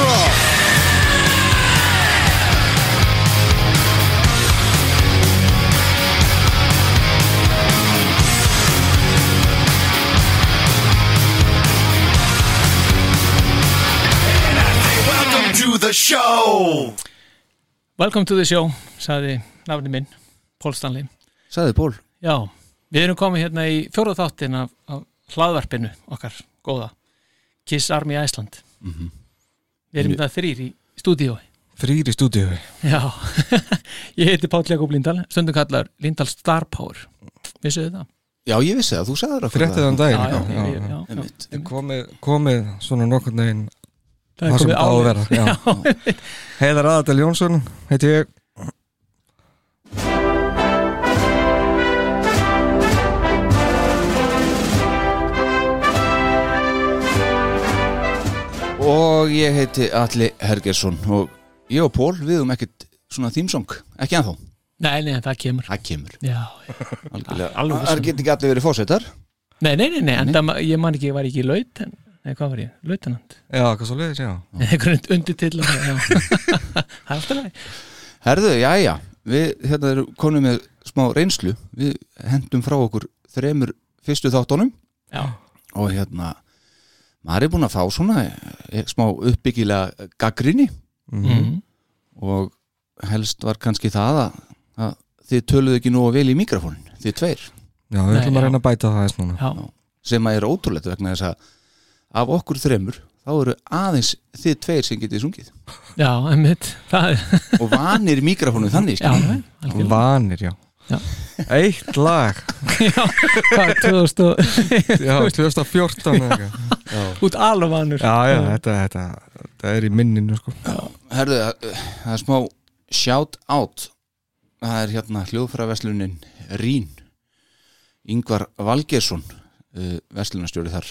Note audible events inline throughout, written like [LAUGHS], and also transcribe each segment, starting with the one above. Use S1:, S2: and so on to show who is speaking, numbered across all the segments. S1: roll.
S2: Welcome to the show.
S3: Welcome to the show, sagði nafni minn, Pól Stanley.
S4: Sæðu Pól
S3: Já, við erum komið hérna í fjóra þáttin af, af hlaðvarpinu okkar, góða, Kiss Army Iceland. Við erum það þrýr í stúdíói.
S4: Þrýri stúdíu
S3: Já, [LAUGHS] ég heiti Páll Jakob Lindahl, stundum kallar Lindahl Star Power. Vissuðu það?
S2: Já, ég vissi það, þú sagði það
S4: Fréttið þann daginn
S3: já, já, já, já.
S2: Einmitt.
S4: Þið Komið, komið svona nokkurn veginn
S3: Það er
S4: Það sem
S3: komið
S4: á að
S3: árið.
S4: vera já.
S3: [LAUGHS]
S4: Heiðar Aðardal Jónsson Heiti ég
S2: Og ég heiti Alli Hergersson og ég og Pól við um ekkert svona þýmsong, ekki ennþá
S3: Nei, nei, það kemur.
S2: Það kemur
S3: Já, já.
S2: Alveg Það getur ekki allir verið fósettar
S3: nei, nei, nei, nei, en það, ma- ég man ekki, ég var ekki í laut, nei, hvað var ég? Lautanand.
S4: Já, hvað svo leiðis, já
S3: Einhvern undirtill. [LAUGHS] já. Það er alltaf leið.
S2: Herðu, já, já, við hérna erum konum með smá reynslu Við hendum frá okkur þremur fyrstu þáttunum
S3: Já,
S2: og hérna maður er búinn að fá svona eh, smá uppbyggilega gaggrinni
S3: mm.
S2: og helst var kannski það að, að þið töluðu ekki nógu vel í mikrofónin, þið tveir
S4: Já,
S3: Nei,
S4: við ætlum
S3: já.
S4: að reyna að bæta það eins núna
S3: já,
S2: sem að er ótrúlegt vegna þess að af okkur þremur þá eru aðeins þið tveir sem getið sungið
S3: já, einmitt. Það er,
S2: og vanir mikrofónu þannig sko.
S3: já,
S2: skilur.
S3: nei, algjörlega.
S4: Vanir, já,
S3: Já.
S4: Eitt lag
S3: Já, hvað, 2000 og [LAUGHS]
S4: Já, 2014 eða eitthvað.
S3: út alveg vanur
S4: Já, já, þetta, þetta, þetta er í minninu sko.
S2: Herðu, það- það er smá shout out það er hérna hljóðfæraverslunin Rín Yngvar Valgersson uh, verslunarstjóri þar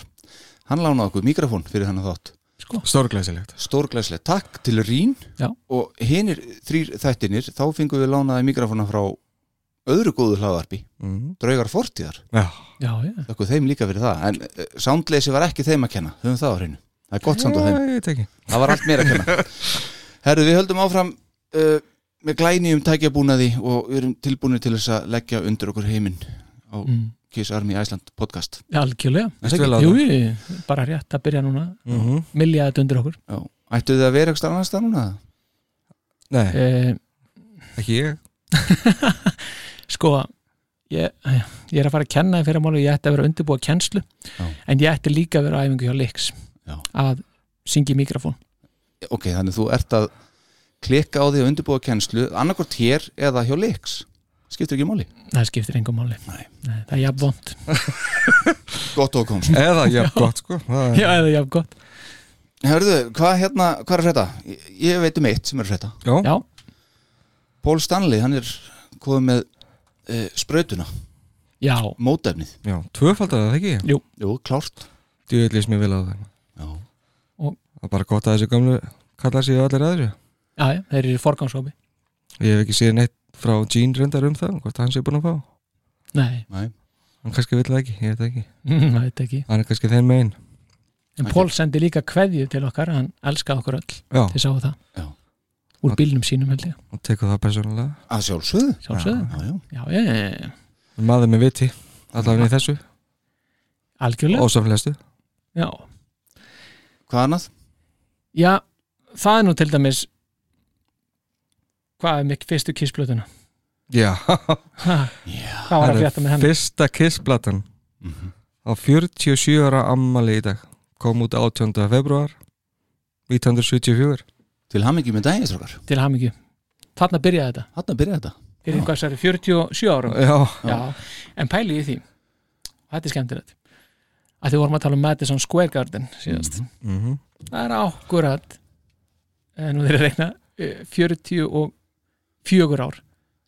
S2: hann lánaði okkur mikrofón fyrir þennan þátt
S4: Stórglæsilegt
S2: stórglæslega takk til Rín
S3: Já.
S2: og hinnir þrýr þættinir þá fengum við lánaði mikrofóna frá öðru góðu hlaðarpi
S4: mm.
S2: draugar fortíðar
S4: Já,
S3: já, já,
S2: Þakku þeim líka fyrir það, en uh, soundleysi var ekki þeim að kenna, höfum það á hreinu. Það er gott samt á
S4: Já,
S2: þeim,
S4: ég veit ekki
S2: það var allt meira að kenna. Herru, við höldum áfram uh, með glænýjum tækjabúnaði og við erum tilbúinir til þess að leggja undir okkur heiminn á
S3: mm.
S2: Kiss Army Iceland podcast.
S3: já algjörlega
S2: Er það
S4: Vel
S2: ekki?
S4: á
S3: jú,
S4: það.
S3: jú, bara rétt að byrja núna
S4: Mhm.
S3: milja þetta undir okkur
S2: Já. Ættu þið að vera eitthvað annars það núna?
S4: Nei,
S3: eh,
S4: ekki ég
S3: sko ég, ég er að fara að kenna í fyrir málu ég ætti að vera að undirbúa kennslu
S2: Já.
S3: en ég ætti líka að vera á æfingu hjá Lix
S2: Já.
S3: að syngi í mikrofón
S2: Ok, þannig þú ert að klikka á því að undirbúa kennslu, annarkort hér eða hjá Lix. Skiptir ekki máli.
S3: það skiptir engum máli
S2: Nei.
S3: það er jafn vond
S2: Gott og komst.
S4: [LAUGHS] Eða, já, gott sko Það er-
S3: já, eða jafn gott
S2: Herðu, hvað hérna, hvað er að frétta? Ég, ég veit um eitt sem er að frétta.
S4: Já,
S3: já,
S2: Pól Stanley, hann er komið með uh, sprautuna,
S3: já,
S2: mótefnið
S4: já, tvöfaldar það ekki
S2: Jú, klárt
S4: Djöð lýst mér vel á þeim
S2: Já,
S4: Það er bara gott að þessi gamlu kallar sig allir aðri
S3: já, já, þeir eru í forgangsópi
S4: Ég hef ekki séð neitt frá Gene reyndar um það Hvort hann sé búin að fá
S3: nei, [LAUGHS]
S2: næ,
S4: Hann kannski vill það ekki, ég veit það ekki
S3: það veit ekki
S4: Hann er kannski þeim megin
S3: en
S2: Ok.
S3: Pól sendi líka kveðju til okkar hann elskaði okkur öll
S4: Já,
S3: Þið sáu það
S2: Já.
S3: Úr bílnum sínum held ég
S4: og tekur það persónulega
S2: að sjálfsögðu
S3: Sjálfsögðu
S2: Já, já,
S3: Já, já, já, já
S4: Maður með viti, allavega í þessu
S3: Algjörlega
S4: Og samfélastu
S3: Já
S2: hvað annað?
S3: Já, það er nú til dæmis Hvað er mikið fyrstu kissblötuna?
S4: Já, [LAUGHS]
S3: Ha,
S2: Já,
S3: Hvað var að frétta með henni?
S4: fyrsta kissblatan Á 47 ára ammali í dag Kom út 18. februar 1974
S2: til hamingi með daginn, strókar
S3: Til hamingju Þarna byrjaði þetta
S2: Þarna byrjaði þetta
S3: Fyrir hvað særi 47 árum
S4: Já,
S3: Já En pæli í því Þetta er skemmtilegt að því vorum að tala um Madison Square Garden síðast
S4: Mhm.
S3: það er ákkurat eh, nú þeir að reikna eh, 44 ár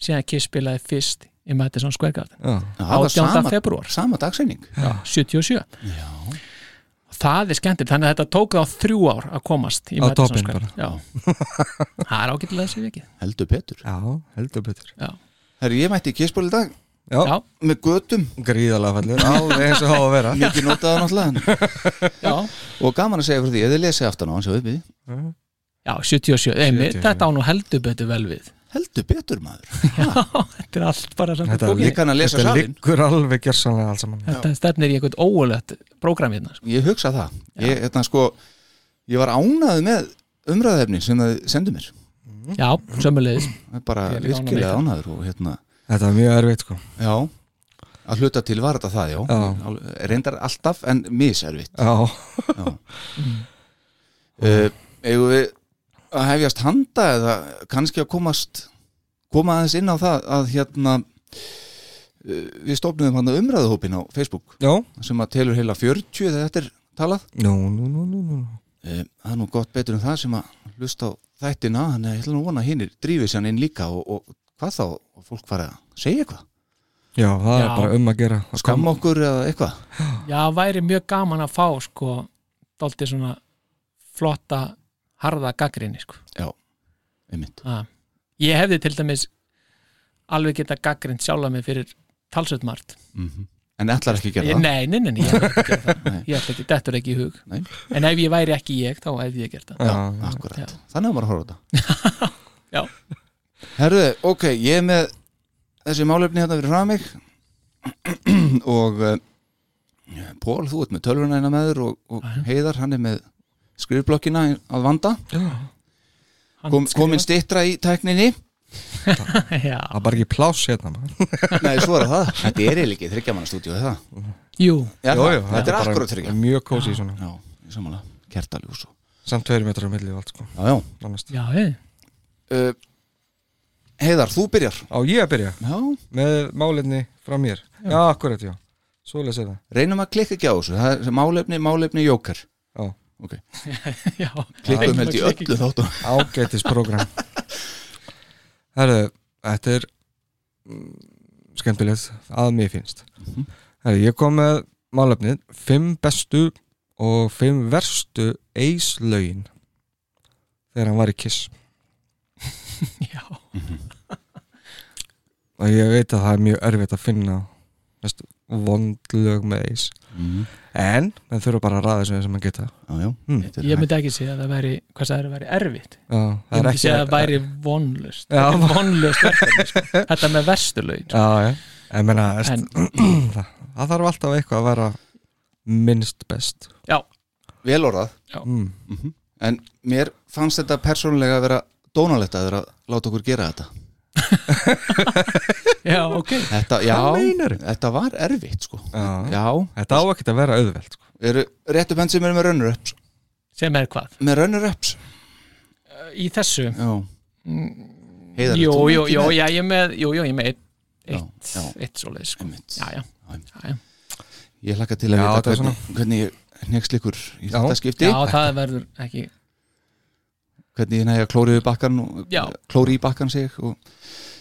S3: síðan Kiss spilaði fyrst í Madison Square Garden
S4: Já,
S2: það var
S3: 18.
S2: sama,
S3: febrúar
S2: sama dagsreining
S3: 77 Já. það er skemmtilegt, þannig að þetta tók þá þrjú ár að komast í
S4: Á
S3: Madison
S4: toppinn
S3: Square Já. það er ágætilega þessi vikið
S2: heldur betur
S4: já heldur betur
S2: Herri, ég mætti kisból í dag
S4: Já,
S3: Já.
S2: með götum,
S4: gríðalega fallur, alveg eins og hafa að
S2: [LAUGHS]
S4: vera
S2: mikið notaða náttúrulega
S3: Já.
S2: [LAUGHS] og gaman að segja fyrir því, ef þið lesið aftan á hans uppi,
S3: Já, 77, einmitt,
S4: 77.
S3: þetta á nú heldur betur vel við
S2: heldur betur maður
S3: Þetta er allt bara samt
S4: Þetta
S3: í bókinni.
S2: líka hann að lesa
S4: Þetta
S2: salin
S4: liggur alveg gersanlega alls saman
S3: Þetta stefnir í eitthvað óulegt prógram hérna sko.
S2: ég hugsa það, ég, hérna, sko, ég var ánaði með umræðefni sem það sendu mér
S3: Já, sömulegis
S2: Það er bara
S3: Ég er líka ánægður með
S2: virkilega
S3: það.
S2: ánaður og hérna,
S4: Þetta var mjög erfitt sko
S2: já að hluta til var þetta það, já,
S4: Já.
S2: Alveg- reyndar alltaf en miservitt
S4: Já,
S2: uh, eigum við að hefjast handa eða kannski að komast koma aðeins inn á það að hérna uh, við stofnum hann umræðuhópin á Facebook
S4: já,
S2: sem að telur heila 40 þegar þetta er talað
S4: nú, nú, nú, nú, nú.
S2: Eh, Það er nú gott betur en það sem að hlusta á þættina, þannig að ég ætla nú að vona að hinnir drífið sér inn líka og, og hvað þá og fólk fara að segja eitthvað,
S4: Já, það er
S3: Já.
S4: bara um að gera Að koma-
S2: skamma okkur eða eitthvað
S3: Já, væri mjög gaman að fá sko, dálítið svona flotta, harða gaggrinni sko.
S2: einmitt.
S3: Ha. Ég hefði til dæmis alveg geta gaggrind sjálfa mig fyrir talsveit margt
S2: En ætlar ekki að gera
S3: Ég-
S2: það
S3: Nei, nei, nei, nei, ég ætla ekki að gera það
S2: Nei.
S3: Ég ætla ekki, dettur ekki í hug
S2: Nei.
S3: En ef ég væri ekki ég, þá hefði ég gert það [LAUGHS]
S4: Já, já.
S2: Akkurat,
S3: Já.
S2: þannig að maður að horfa á þetta
S3: Já.
S2: Herðu, ok, ég er með þessi málefni hérna fyrir frá mig [CLEARS THROAT] og uh, Pól, þú ert með tölvuna eina með þér og, og Heiðar, hann er með skrifblokkina að vanda
S3: Hann
S2: Kom,
S3: skrifar-
S2: komin stittra í tækninni
S3: Já,
S4: Það er bara ekki pláss hérna maður.
S2: Nei, svo er það Þetta er eiginlega ekki þryggja manna stúdíu, er það?
S3: jú,
S2: Já,
S4: Jú, jú,
S2: þetta er
S4: bara
S2: akkurat þryggja
S4: Mjög kósi svona
S2: Já, í samanlega, kertaljús og
S4: Samt tveir metrar á milli og allt sko
S2: Já, já
S4: nánast.
S3: já, hei
S2: uh, Heiðar, þú byrjar
S4: Á ég að byrja
S2: Já,
S4: með málinni frá mér Já, akkurat, já Svo leysið það
S2: reynum að klikka ekki á þessu Það er málefni, málefni, jókar
S4: Já,
S2: Ok,
S3: Já, Reynum
S2: klikkum held í
S3: að klikka
S2: öllu þáttum
S4: ágætis program Herðu, þetta er mm, skemmtilegt að mér finnst
S3: Mhm.
S4: Herðu, ég kom með málefnið fimm bestu og fimm verstu Ace lögin þegar hann var í Kiss
S3: [LAUGHS] já
S4: og ég veit að það er mjög erfitt að finna veist, vond lög með Ace
S2: mm,
S4: en menn þurfa bara að ræða þessu sem hann geta
S2: Já, já,
S4: Hmm.
S2: þetta
S3: Ég
S2: er hægt
S3: myndi ekki segja að það væri, hvað það er að væri erfitt
S4: Já,
S3: Ég myndi segja að það væri vonlust Þetta er vonlust verkefni
S2: [LAUGHS]
S3: sko. Þetta með vesturlaun
S4: Já, já, ég meina veist,
S3: En
S4: það, það þarf alltaf eitthvað að vera minnst best
S3: já,
S2: Vel orðað
S4: mm.
S2: En mér fannst þetta persónulega að vera dónalegt að vera að láta okkur gera þetta
S3: já, ok
S2: Þetta, já,
S4: meinarðu?
S2: þetta var erfitt sko
S4: Já.
S2: Já,
S4: Þetta á ekki að vera auðvelt sko.
S2: eru réttu bend sem eru með runner-ups
S3: Sem er hvað?
S2: Með runner-ups,
S3: Í þessu
S2: já Heiðar,
S3: Jú,
S2: ert þú
S3: jú,
S2: ekki
S3: jú,
S2: með?
S3: já, ég er með Jú, jú, ég er með eitt,
S2: Já,
S3: eitt,
S2: já.
S3: eitt svoleiðis sko.
S2: Einmitt.
S3: Já, já,
S2: Einmitt.
S3: já, já.
S2: Ég hlakka til að
S4: Já,
S2: vita
S4: þetta er
S2: hvernig, hvernig ég next ykkur í
S4: Já.
S2: þetta skipti
S3: já það verður ekki
S2: hvernig ég næja klórið í bakkan og,
S3: Já.
S2: klóri í bakkan sig og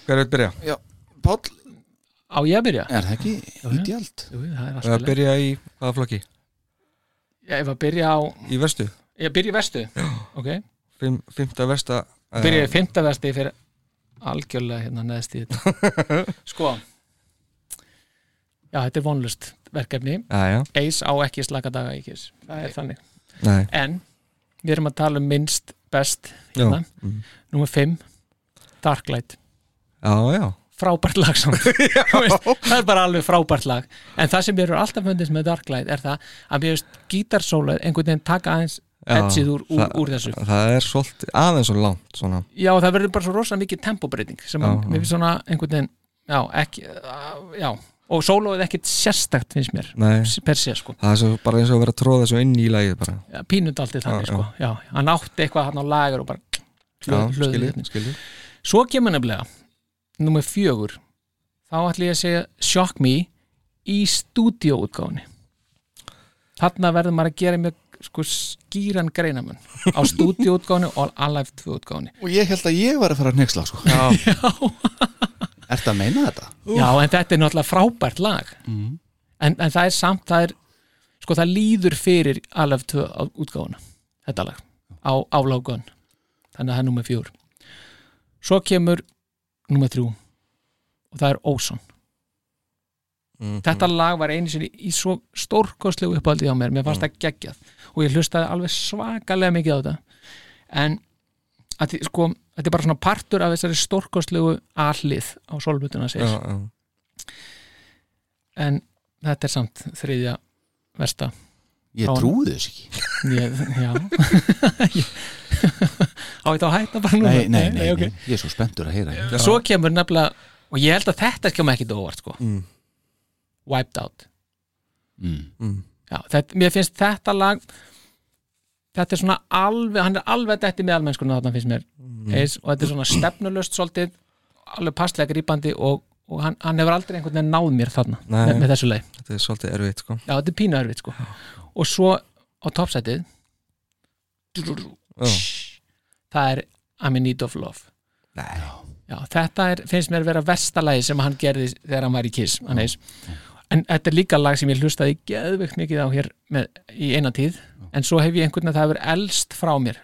S4: Hver veit byrja?
S2: Páll,
S3: Á ég að byrja?
S2: er það ekki
S3: já.
S2: ídjald?
S3: Jú, það er
S4: Eða
S3: alltaf leið
S4: byrja í hvaða flokki?
S3: Ég var að byrja á
S4: Í verstu?
S3: Ég byrja í vestu Ok
S4: Fimm, fymta versta eh,
S3: Byrja í fymta vesti fyrir algjörlega hérna neðst í þetta
S4: [LAUGHS]
S3: Sko Já, þetta er vonlust verkefni
S4: Já, já,
S3: Ace á ekki slaka daga í Kiss það er þannig,
S4: nei
S3: en við erum að tala um minnst, best,
S4: Já,
S3: Hérna.
S4: Mm.
S3: nummer 5 Darklight,
S4: já, já.
S3: frábært lag samt.
S4: [LAUGHS]
S3: Þú veist, það er bara alveg frábært lag en það sem mér eru alltaf fundist með Darklight er það að mér veist gítarsólar einhvern veginn taka aðeins
S4: Já,
S3: etsið úr, úr,
S4: það-
S3: úr þessu
S4: Það er svolítið aðeins og langt svona.
S3: já, það verður bara svo rosa mikið tempóbreyting sem
S4: Já,
S3: að,
S4: já.
S3: mér finnst svona einhvern veginn já, ekki, að- já og sólóið ekkit sérstakt finnst mér
S4: Nei,
S3: per sé sko,
S4: það er svo, bara eins og að vera að tróða þessu inn í lagið bara
S3: pínundaldið þannig
S4: Já, já.
S3: sko já, hann átti eitthvað hann á lagar og bara
S4: Já,
S3: hlöð- hlöðuð
S4: skiljið,
S3: hérna.
S4: skiljið
S3: Svo kemur nefnilega Númer fjögur Þá ætla ég að segja Shock Me í stúdíóutgáfunni þarna verður maður að gera mjög sko skýran greinamun á stúdíóutgáni og Alive 2 útgáni
S2: og ég held að ég var að fara að nexla sko. [LAUGHS]
S4: Já.
S2: Ertu að meina þetta?
S3: Já, en þetta er náttúrulega frábært lag en, en það er samt, það er sko það líður fyrir Alive 2 á útgáfuna, þetta lag á, á Logan, þannig að það er nummer fjör Svo kemur nummer þrjú og það er Óson Þetta lag var einu sinni í svo stórkostlegu uppaldi á mér, mér fannst það geggjað og ég hlustaði alveg svakalega mikið á þetta en að, því- sko, þetta er bara svona partur af þessari stórkostlegu allið á solbutuna sér
S4: já, já.
S3: en þetta er samt þriðja versta
S2: Ég
S3: Já.
S2: trúi þess ekki
S3: ég, já á þetta að hætta bara núna
S2: Nei, nei, nei,
S3: ok.
S2: nei. ég er svo spenntur að heyra þetta.
S3: svo kemur nefnilega og ég held að þetta kemur ekkit á óvart sko.
S4: Mm.
S3: wiped out
S2: mm.
S3: já, þetta, mér finnst þetta lag þetta er svona alveg hann er alveg detti með almennskuna þarna finnst mér
S2: Mm.
S3: eins, og þetta er svona stefnulöst svolítið alveg passlega grípandi og, og hann, hann hefur aldrei einhvern veginn náð mér þarna
S4: Nei.
S3: með, með þessu leið
S4: Þetta er svolítið erfitt sko
S3: Já, þetta er pínu erfitt sko Og svo á toppsætið
S4: Já.
S3: Það er I'm in need of love
S4: Nei.
S3: Já, þetta er, finnst mér að vera verstalagi sem hann gerði þegar hann var í Kiss hann heis. En þetta er líka lag sem ég hlustaði geðveikt mikið á hér með, í eina tíð En svo hef ég einhvern veginn að það hefur elst frá mér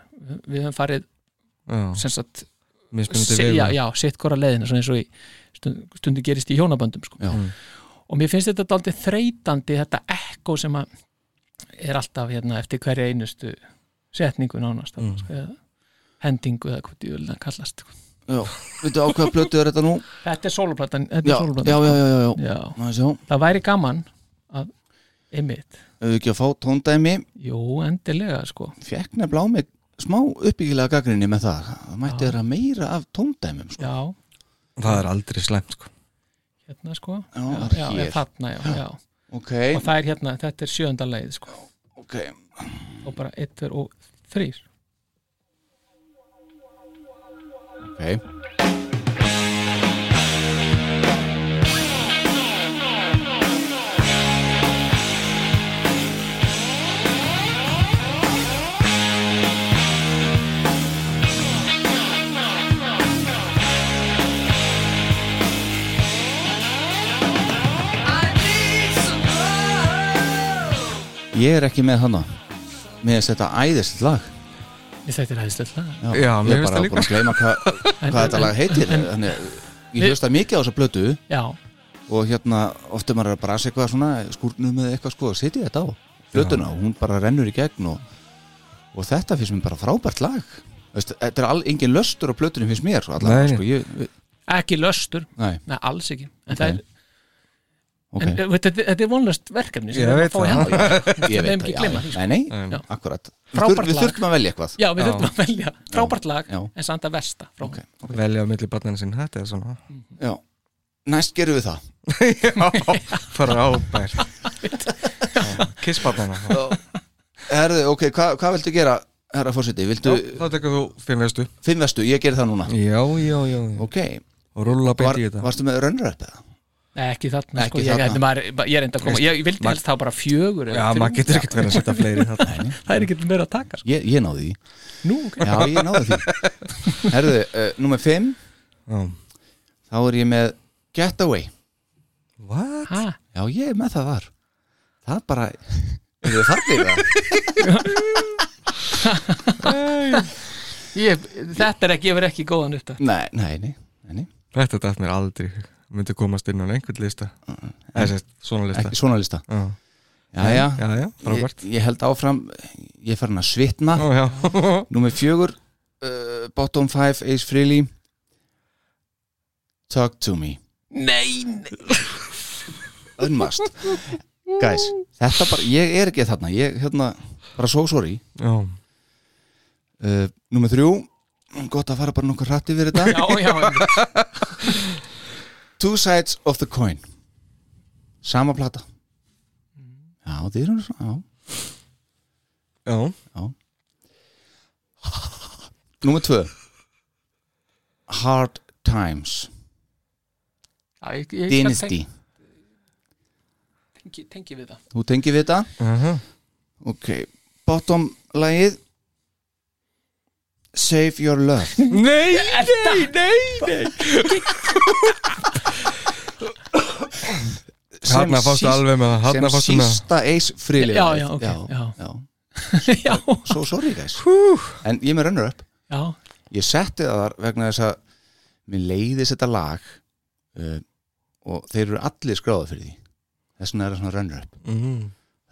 S3: Við höfum farið
S4: Já,
S3: sem sagt
S4: mismunandi
S3: si,
S4: vegu
S3: já, já, sitt hvora leiðina svona eins og í stund, stundu gerist í hjónaböndum sko.
S2: Já. Mm.
S3: og mér finnst þetta daldið þreytandi þetta ekko sem að er alltaf hérna eftir hverja einustu setningu nánast mm. sko, eða hendingu eða hvað djúlina kallast sko.
S2: Já, veitu á hvaða plötu er þetta nú?
S3: þetta er sóluplattan þetta
S2: Já,
S3: er
S2: já,
S3: sóluplattan
S2: já, já, já, já.
S3: já.
S2: Má sjá,
S3: það væri gaman að einmitt,
S2: ef við ekki að fá tóndæmi
S3: jú, endilega sko
S2: fekk nefnilega á mig smá uppbyggilega gaggrinni með það það mætti vera meira af tóndæmum sko.
S3: já,
S4: Það er aldrei slæmt sko
S3: hérna sko
S2: Já,
S3: já,
S2: hér.
S3: já, þarna, já, já.
S2: ok,
S3: og það er hérna, þetta er sjönda leið sko.
S2: ok
S3: og bara einn, tver og þrýr
S2: ok, ég er ekki með hana með þess þetta æðist lag
S3: Ég þetta er hæðislega
S2: já, ég
S4: Já, mér
S2: er
S4: finnst
S2: bara
S4: það
S2: búin að gleyma
S4: [LAUGHS]
S2: hvað hvað þetta lag heitir þannig, ég
S3: Við-
S2: hlusta mikið á þessa plötu
S3: Já,
S2: og hérna oft er maður að brasa eitthvað svona skúrnum eða eitthvað sko, setji þetta á plötuna og hún bara rennur í gegn og, og þetta finnst mér bara frábært lag Veist, þetta er all, engin löstur á plötunum finnst mér sko, allavega,
S4: Nei, nei.
S2: sko, ég, við-
S3: ekki löstur
S2: nei,
S3: Nei, alls ekki En,
S2: Ok,
S3: það er,
S2: ok,
S3: en okay. þetta, þetta er vonlöst verkefni sem
S4: Ég
S3: við erum að
S4: veit
S3: fá í
S4: það.
S3: hendur.
S4: [LAUGHS]
S2: ég
S3: megum
S2: veit
S3: ekki
S2: það,
S3: gleyma því,
S2: já,
S3: sko.
S2: já. nei, nei,
S3: Já.
S2: akkurat
S3: Frábært
S2: við, þur, við
S3: lag.
S2: þurfum að velja eitthvað
S3: Já, við þurfum að velja frábært lag
S2: Já.
S3: en samt að versta frá
S2: Ok.
S3: okay.
S4: Velja á milli barnana sín, þetta er svona
S2: já. næst gerum við það
S4: Frábært Kiss barnana
S2: Herðu, ok, hvað hva viltu gera, herra fórseti viltu
S4: Þá tekur þú fimm vestu
S2: fimm vestu, ég ger það núna
S4: Já, já, já Og
S2: ok,
S4: rúlla
S2: Var,
S4: beint í þetta
S2: varstu með rönnröp eða?
S3: Nei, ekki þarna,
S2: Ekki
S3: sko, ég,
S2: þarna.
S3: þarna. Maður, ma- ég er enda að koma Ég vildi helst þá bara fjögur eða
S4: Já,
S3: þrjú.
S4: maður getur ekkert verið að setja fleiri þetta
S3: Það er ekkert meira að taka sko.
S2: Ég, ég náði því
S3: Nú, ok
S2: Já, ég náði [LAUGHS] því Herðu, uh, nummer 5
S4: Já
S2: Þá er ég með Getaway
S4: What?
S3: ha,
S2: Já, ég er með það þar Það bara Eru þið farnir það?
S3: ég, Þetta er ekki, ég verð ekki góðan upp
S2: [LAUGHS] Nei, nei, nei, nei, nei.
S4: Þetta dætt mér aldrei myndi komast inn á einhvern lista Eða sérst, svona lista
S2: Mm, Ekki svona lista
S4: Já,
S2: Já, já,
S4: já, já,
S2: ég,
S4: frábært
S2: ég held áfram Ég er farin að svitna
S4: Ó, já [LAUGHS]
S2: Númer 4 uh, Bottom 5, Ace Frehley Talk to me
S3: Nei, nei.
S2: Unmast Guys, þetta bara, ég er ekki þarna Ég, hérna, bara so sorry
S4: Já,
S2: uh, Númer 3 Gott að fara bara nokkuð hratt yfir þetta
S3: Já, já, einmitt.
S2: Two Sides of the Coin Sama plata Já, þið eru svona já.
S4: já
S2: Númer tvö Hard Times
S3: Já, ég, ég skal
S2: Dynasty
S3: tengi, tengi við það
S2: Þú tengir við þetta
S4: Uh -huh.
S2: ok, bottom lagið Save Your Love
S4: Nei, nei, nei, nei Hanna fórstu alveg með það
S2: sem
S4: Hanna fórstu með það
S2: sísta eis frílið
S3: Já, já, ok, já. já,
S2: so sorry guys en ég er með runner up
S3: já,
S2: ég setti það þar vegna þess að mér leiðis þetta lag uh, og þeir eru allir skráða fyrir því þess vegna er það svona runner up
S4: mm.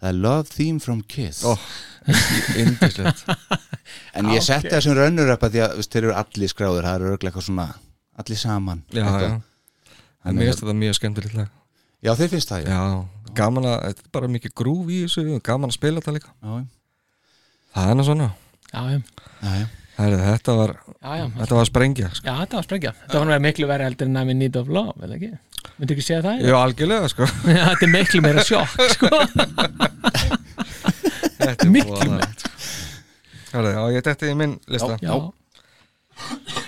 S2: það er Love Theme from Kiss
S4: Ó, Indislegt
S2: [LAUGHS] en ég
S3: ok.
S2: setti það sem runner up að því að veist, þeir eru allir skráðir, það eru örglega eitthvað svona allir saman
S4: Já,
S2: Eitthvað.
S4: já En mér finnst þetta mjög skemmtilegt lag
S2: já þeir finnst það já.
S4: Já, gaman að, þetta er bara mikið grúf í þessu og Gaman að spila þetta líka
S2: Já,
S4: Það er nú svona
S3: já, já,
S2: já, já.
S4: Herðu, þetta var,
S3: já, já.
S4: þetta var sprengja sko.
S3: Já, þetta var sprengja. Þetta var nú miklu verið heldur en I'm in need of love, eða ekki? Myndu ekki segja það?
S4: Jú, algjörlega, sko
S3: Já, [LAUGHS] þetta er miklu meira sjokk, sko.
S4: Þetta er
S3: Miklu
S4: voðalegt, sko. Herðu, já, ég detti í minn lista
S3: Já,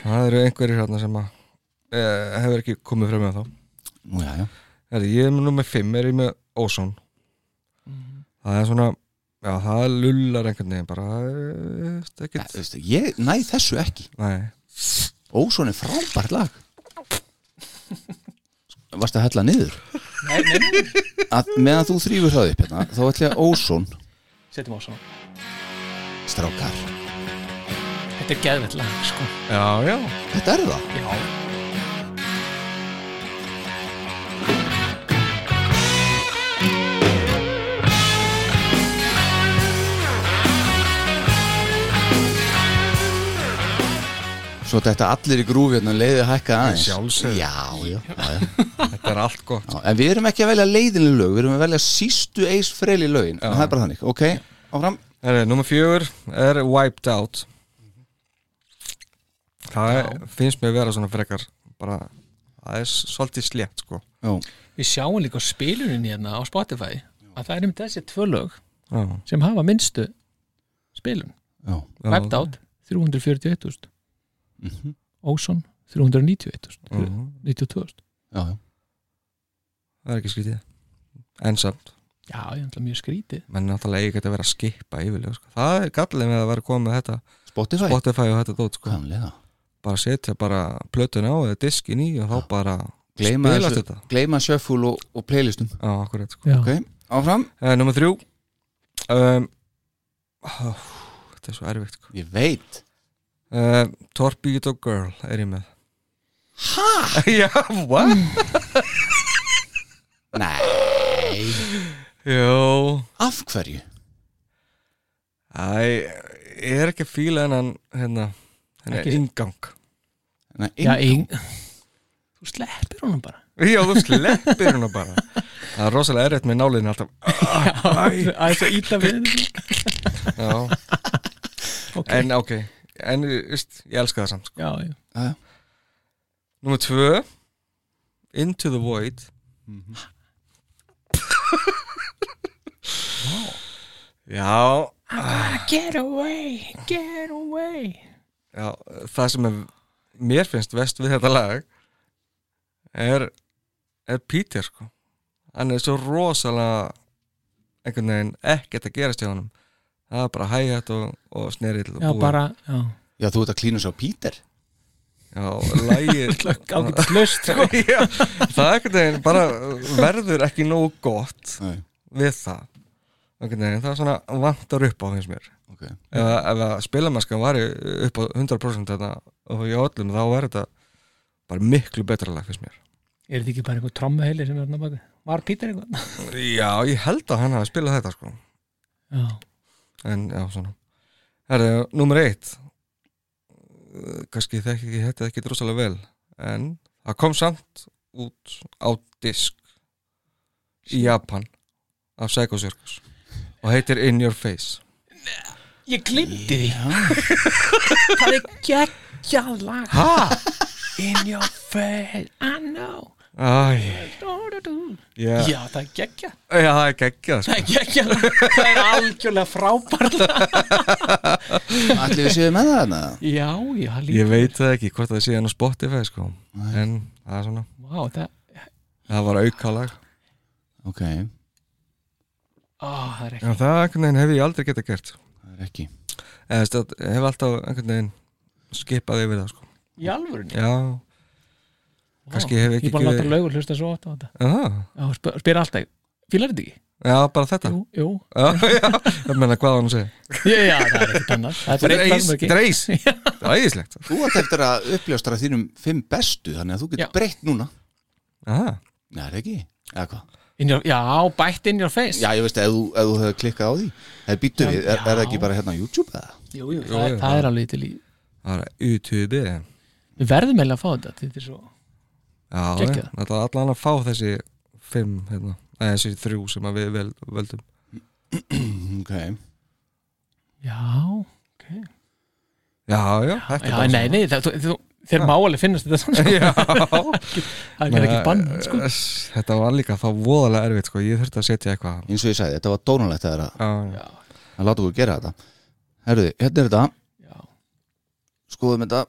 S4: Það eru einhverjir hérna sem að e, hefur ekki komið frem með þá
S2: Nú, já, já.
S4: Herðu, ég er með nummer 5, er ég með Ósson Það er svona Já, það lullar einhvern veginn bara Það er veist,
S2: Ja,
S4: ekkert
S2: veist, ég næ þessu ekki
S4: Nei,
S2: Ósson er frábært lag varstu að hella niður að meðan þú þrýfur það upp hérna, þá ætla ég að Ósson
S3: setjum á svona.
S2: strákar,
S3: Þetta er geðvett lag, sko.
S4: já, já
S2: þetta er það
S3: Já.
S2: svo þetta allir í grúfi hérna leiði hækka aðeins
S4: Sjálfsögðu.
S2: já, já, já, já.
S4: Þetta er allt gott
S2: Já, en við erum ekki að velja leiðinlu lög við erum að velja sístu eis freyli lögin en það er bara þannig, ok, áfram
S4: Herri, nummer fjögur er Wiped Out Það er, finnst mér að vera svona frekar bara, það er svolítið slétt sko
S2: já,
S3: Við sjáum líka á spilunin hérna á Spotify að það er um þessi tvö lög
S4: Já,
S3: sem hafa minnstu spilun.
S2: já,
S4: já.
S3: Wiped Out, 341.000. Ósson, 391.000.
S4: Mhm,
S3: 92.000.
S2: já, já.
S4: Það er ekki skrítið En samt,
S3: Já, ég ætla mjög skrítið.
S4: menn náttúrulega ekki að vera að skipa yfirlega sko. Það er gallið með að vera að koma með þetta
S2: Spotify,
S4: Spotify og þetta dót sko
S2: kannlega
S4: Bara setja bara plötun á eða diskin í og þá bara
S2: gleyma,
S4: spilast
S2: þessu-
S4: þetta
S2: gleyma shuffle og, og playlistum
S4: Já, akkurat sko
S3: Já.
S2: ok, áfram
S4: Eh, Númer þrjú um, ó, Þetta er svo erfitt sko
S2: ég veit,
S4: Uh, Torpedo Girl er ég með Hæ? [LAUGHS] Já, what?
S2: nei
S4: Jó
S2: af hverju,
S4: Æ, ég er ekki að fíla hennan hérna, hennan
S3: Ekki-
S4: ingang
S2: nei,
S3: Já,
S2: inn-
S3: ein... Þú sleppir honum bara.
S4: Já, þú sleppir hennar bara Það er rosalega erfitt með náliðin alltaf
S3: [LAUGHS] Æ, það er svo ítla við þetta.
S4: Já,
S3: [LAUGHS] Ok.
S4: en ok En, veist, ég elska það samt sko.
S3: Já, já.
S2: Já, já.
S4: Númer tvö Into the Void [LAUGHS] Já,
S3: Get away, get away
S4: Já, það sem er, mér finnst vest við þetta lag er, er Peter sko. hann er svo rosalega einhvern veginn ekkert að gerast hjá honum það er bara hægjætt og, og snerill og
S3: Já,
S4: búið.
S3: bara, já
S2: já, þú ert að klínu svo Píter
S4: já,
S3: [LAUGHS]
S4: lagið
S3: Ágætt löst, sko
S4: já, það er einhvern veginn bara verður ekki nógu gott
S2: Nei.
S4: við það einhvern veginn, það er svona vantar upp á hins mér
S2: okay.
S4: ef, að- ef að spilamennskan var upp á 100% þetta og í öllum þá verður þetta bara miklu betra lag fyrst mér
S3: Er þetta ekki bara einhver trommuheili sem er hann að baka? Var Pítur eitthvað?
S4: Já, ég held að hann hafi spilað þetta sko
S3: Já,
S4: En já, svona Herðu, númer eitt Uh, Kannski þekki ekki þetta ekki drosalega vel En það kom samt út á disk Í Japan Af Psycho Circus Og heitir In Your Face
S3: ég glimti því [LAUGHS] Það er geggjað lag
S4: Hæ?
S3: In your face, I know
S4: Æ,
S3: Du, du, du.
S4: já, já,
S3: Já, það er geggjað
S4: það er geggjað sko.
S3: Það er geggjað lag. Það er algjörlega frábært lag.
S2: allir við séum með það hérna?
S3: Já, já, líka
S4: Ég veit það ekki hvort það sé hann á Spotify sko. En það er svona
S3: Vá, það
S4: Það var aukalag
S2: ok,
S3: Ó, það er ekki
S4: Já, það einhvern veginn hef ég aldrei getað gert sko.
S2: það er ekki
S4: eða þú veist, það hef alltaf einhvern veginn skipað yfir það sko.
S3: Í alvörunni?
S4: já,
S3: Vá,
S4: kannski hef ég
S3: Ég
S4: ekki
S3: er bara að láta
S4: gefið-
S3: laugur hlusta svo oft á þetta
S4: Aha,
S3: Já, hún spyr, spyr alltaf, fílar þetta ekki?
S4: já, bara þetta
S3: Jú, jú
S4: já, já, ég meina hvað á hann að segja
S3: Já, já, það er ekkert annars Það er bara eitt
S4: dreis,
S3: landsmörki
S4: dreis,
S3: [LAUGHS]
S4: það er æðislegt
S2: Þú ert eftir að uppljóstra þínum fimm bestu þannig að þú
S3: Já.
S2: getur breytt núna
S4: Aha,
S2: Nei, það er ekki, eða hvað?
S3: In your- Já, bætt in your face
S2: Já, ég veist, ef þú, ef þú hefur klikkað á því Það býttu
S3: Já,
S2: við, er, er það
S3: já.
S2: ekki bara hérna á YouTube eða?
S3: Jú, jú, það,
S4: jú,
S3: er- það er alveg til í
S4: það er YouTube já,
S3: Við verðum eiginlega að fá þetta Þetta er svo
S4: já,
S3: Geggjað.
S4: þetta er allan að fá þessi fimm, hérna, eða þessi þrjú sem að við vel, veldum
S2: Ok,
S3: Já, ok
S4: já, já, þetta
S3: Já, nei, nei, það, þú, þú, þeir má alveg finnast þetta svona [LAUGHS]
S4: já,
S3: Það er ekki bann, sko
S4: Ess, þetta var líka það voðalega erfitt sko. ég þurfti að setja eitthvað
S2: eins og ég sagði, þetta var dónalegt að, að,
S4: já,
S2: að láta okkur gera þetta Herðu, hérna er þetta,
S3: Já,
S2: skoðum þetta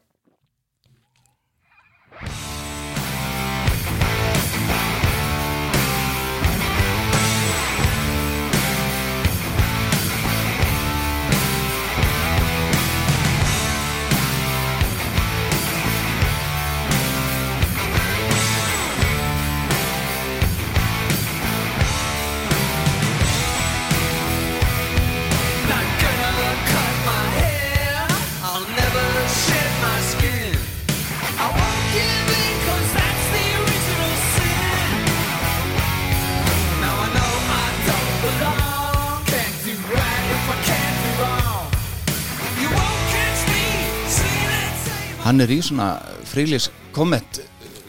S2: Hann er í svona frílis komment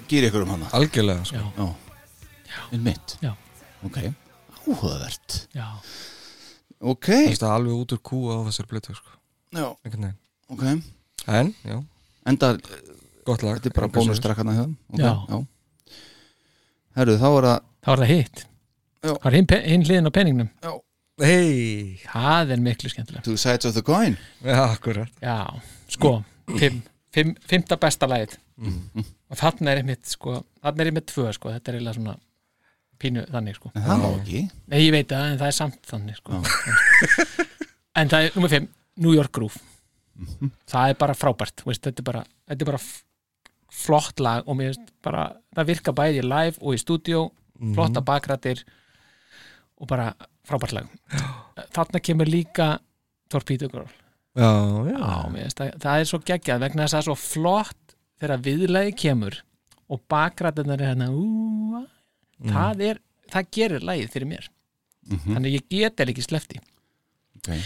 S2: gýr ykkur um hana
S4: algjörlega sko.
S3: já,
S2: Já, minn mitt
S3: já,
S2: Ok, áhugavert
S3: já
S2: Ok,
S4: Fannst það alveg út úr kúa á þessar blötu sko.
S2: já,
S4: einhvern veginn
S2: ok
S4: en, já,
S2: Enda,
S4: gott lag
S2: þetta er bara
S4: Engu að síður.
S2: bónustrakkarna hjá þeim Ok,
S3: Já.
S2: já Herðu, þá er það
S3: Það var það hitt
S2: Já.
S3: Það var hinn, pe- hinn hliðin á peningnum
S4: hei,
S3: Það er miklu skemmtilega
S2: Two Sides of the Coin
S4: já, akkurat
S3: Já, sko, fimm, fimm Fimmta besta lagið Og þarna er einmitt, sko Þarna er einmitt tvö, sko, þetta er eiginlega svona Pínu þannig, sko
S2: En það má ekki
S3: Nei, ég veit það, en það er samt þannig, sko [LAUGHS] En það er, nummer fimm, New York Groove Það er bara frábært, þú veist, þetta er bara Þetta er bara f- flott lag Og mér veist, bara, það virka bæði live og í stúdíó flotta bakrættir og bara frábært lag þarna kemur líka Torpedo Girl
S4: já, já,
S3: Já, mér finnst það, það er svo geggjað vegna þess að það er svo flott þegar viðlagi kemur og bakrættirnar er hérna úa, það er það gerir lagið fyrir mér þannig að ég get eða ekki slefti
S2: okay.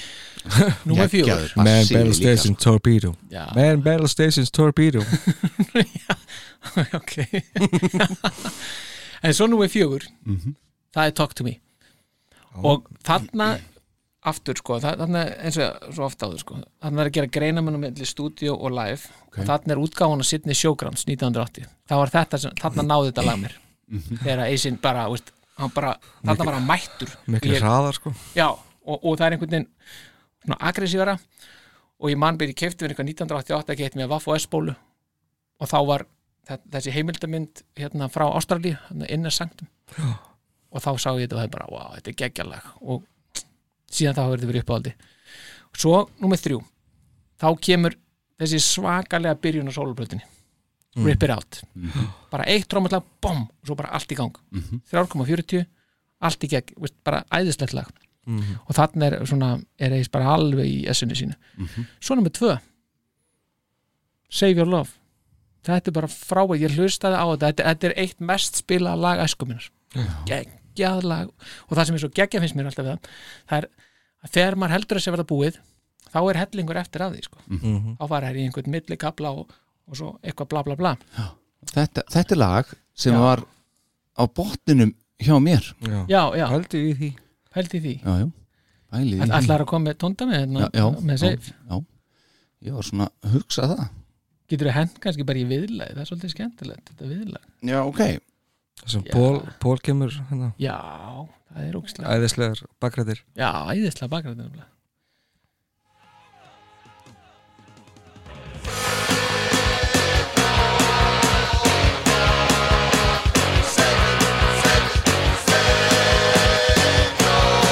S3: Númer
S2: Geggjaður
S3: fjögur
S4: Man
S2: bassi
S4: Battle
S2: líka,
S4: Stations Torpedo
S3: sko. Já,
S4: Man Battle Stations Torpedo
S3: [LAUGHS] ok En svo númer fjögur það er Talk to Me og þarna aftur sko, þa- þarna eins og svo ofta áður sko, þarna er að gera greinamennu melli stúdíu og live og þarna er útgáfuna sittni sjógrans 1980 þá var þetta sem, þarna náði þetta lag mér þegar Eisin bara, veist, hann bara þarna var hann mættur
S4: miklu
S3: Ég-
S4: hraðar sko
S3: já, og, og það er einhvern veginn svona aggressívara og ég mann byrja kefti mér eitthvað 1988 ekki eitt með Vaff og S-bólu og þá var þe- þessi heimildamind hérna frá Ástralíu, hérna innar sanktum og þá sá ég þetta og það er bara, wow, þetta er geggjalag og síðan þá hefur þetta verið uppáhaldi og svo, númer þrjú þá kemur þessi svakalega byrjun á sóluplötinni Rip It Out bara eitt trómatlag, bom, og svo bara allt í gang 3,40 allt í gegn, veist, bara æðislegt lag og þarna er svona er eis bara alveg í essinu sínu
S2: Mhm.
S3: svo nummer tvö Save Your Love þetta er bara frá að ég hlustaði á þetta þetta, þetta er eitt mest spilað lag æskuminar geggjað lag og það sem er svo geggjað finnst mér alltaf við það það er að þegar maður heldur að sé verða búið þá er hellingur eftir að því sko.
S2: Mhm.
S3: þá var það í einhvern milli kapla og, og svo eitthvað bla bla bla
S2: þetta, þetta er lag sem
S3: Já.
S2: var á botninum hjá mér
S4: já,
S3: já, já,
S4: hældu í því
S3: held í því
S2: já, já, bælið í því.
S3: Ætlar að koma með tónda með
S2: já,
S3: hérna
S2: já,
S3: með
S2: já,
S3: Save
S2: já, ég var svona að hugsa það
S3: getur þú hent kannski bara í viðlagi það er svolítið skemmtilegt, þetta viðlag
S2: já, ok,
S4: Það sem
S3: Já.
S4: Pól, Pól kemur hérna,
S3: já, það er ógislega
S4: æðislegar bakrættir
S3: já, æðislega bakgræðin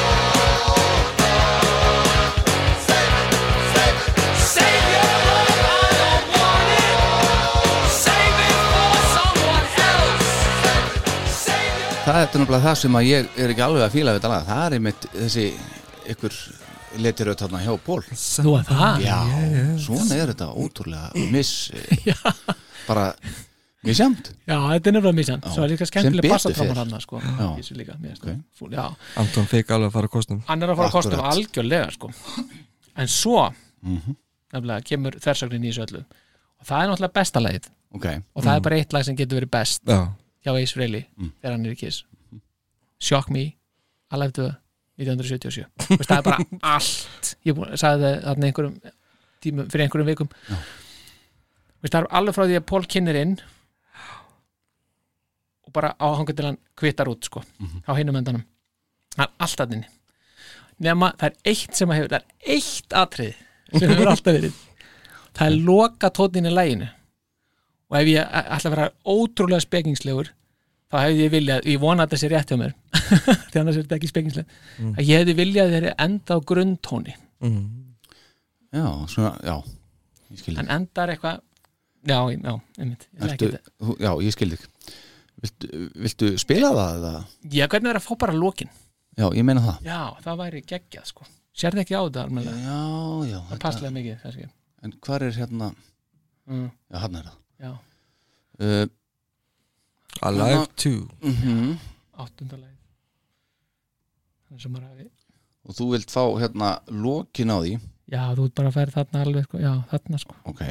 S5: Save
S2: það er náttúrulega það sem að ég er ekki alveg að fíla við þetta lag það er einmitt þessi ykkur letiröð þarna hjá Pól
S3: Þú að það?
S2: já, svona er þetta ótrúlega miss eh,
S3: Já.
S2: bara misjamt
S3: Já, þetta er nefnilega mísan
S2: Já.
S3: Svo er líka
S2: Sem
S3: skemmtilega
S2: betur
S3: bassatrámar
S2: fer.
S3: hann sko.
S2: Já.
S3: Í þessu líka, mér finnst
S2: Ok.
S3: það. Fúl- Já,
S4: Anton fekk alveg að fara að kostum
S3: hann er að fara að kosta um
S2: Akkúrat.
S3: algjörlega sko. en svo
S2: Mhm.
S3: nefnilega kemur þversögnin í þessu öllu og það er náttúrulega besta lagið
S2: ok, Mhm.
S3: og það er bara eitt lag sem getur verið best
S4: Já,
S3: hjá Ace Frehley þegar hann er í Kiss Shock Me, Alive to 1977 Þú veist, það er bara allt ég búin, sagði það þarna einhverjum tímum, fyrir einhverjum vikum Þú veist, það er alveg frá því að Paul kynir inn og bara á hanga til hann kvittar út sko, á hinum endanum það er allt að inni nema það er eitt sem að hefur, það er eitt atrið sem hefur alltaf verið það er loka tónin í læginu og ef ég ætla að vera ótrúlega spekingslegur þá hefði ég viljað, ég vona að þetta sé rétt hjá mér [LAUGHS] því annars er þetta ekki spekingsleg
S2: Mm.
S3: að ég hefði viljað þeirri enda á grunntóni
S2: já, svona, já ég skildi,
S3: en endar eitthvað já, já, einmitt, ég vil ekki
S2: Ertu,
S3: þetta
S2: þú- já, ég skildi viltu, viltu spila það eða?
S3: já, hvernig er að fá bara lokin
S2: já, ég meina það
S3: já, það væri geggjað sko sérði ekki á þetta almenlega,
S2: já, já,
S3: það
S2: þetta,
S3: passlega mikið kannski.
S2: en hvar er hérna
S3: Mm,
S2: já, hann er
S3: já,
S2: það uh,
S4: Alive 2
S2: mhm.
S3: áttundalega þannig sem maður hafi
S2: og þú vilt fá hérna lokin á því
S3: já, þú ert bara að færa þarna alveg sko, já, þarna sko
S2: ok,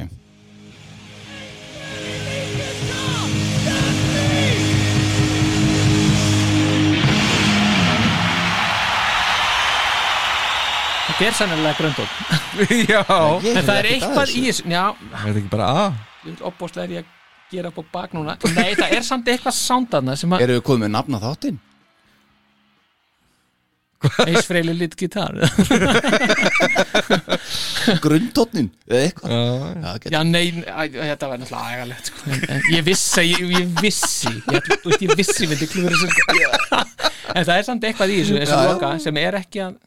S3: þetta er sannilega grunntón,
S4: [LAUGHS] Já Er
S2: Ég
S3: en það er
S2: heyrði ekkert af
S3: eitthvað
S2: þessu.
S3: í þessu, já,
S4: þetta ekki bara A?
S3: ég vil opbóðslega er ég að gera upp á bak núna nei, það er samt eitthvað sándarna sem að
S2: eru við komið með nafna þáttinn?
S3: eins freyli lit
S2: [LAUGHS]
S3: gitar
S2: grundtótnin eða eitthvað
S4: Já,
S2: já, get,
S3: já, nei, æ, þetta var náttúrulega agalegt sko. En ég vissi, ég, ég vissi ég, ætla- þú veist, ég vissi myndi klúður þessu sko. en það er samt eitthvað í þessu, þessu
S2: Já, já.
S3: loka, sem er ekki að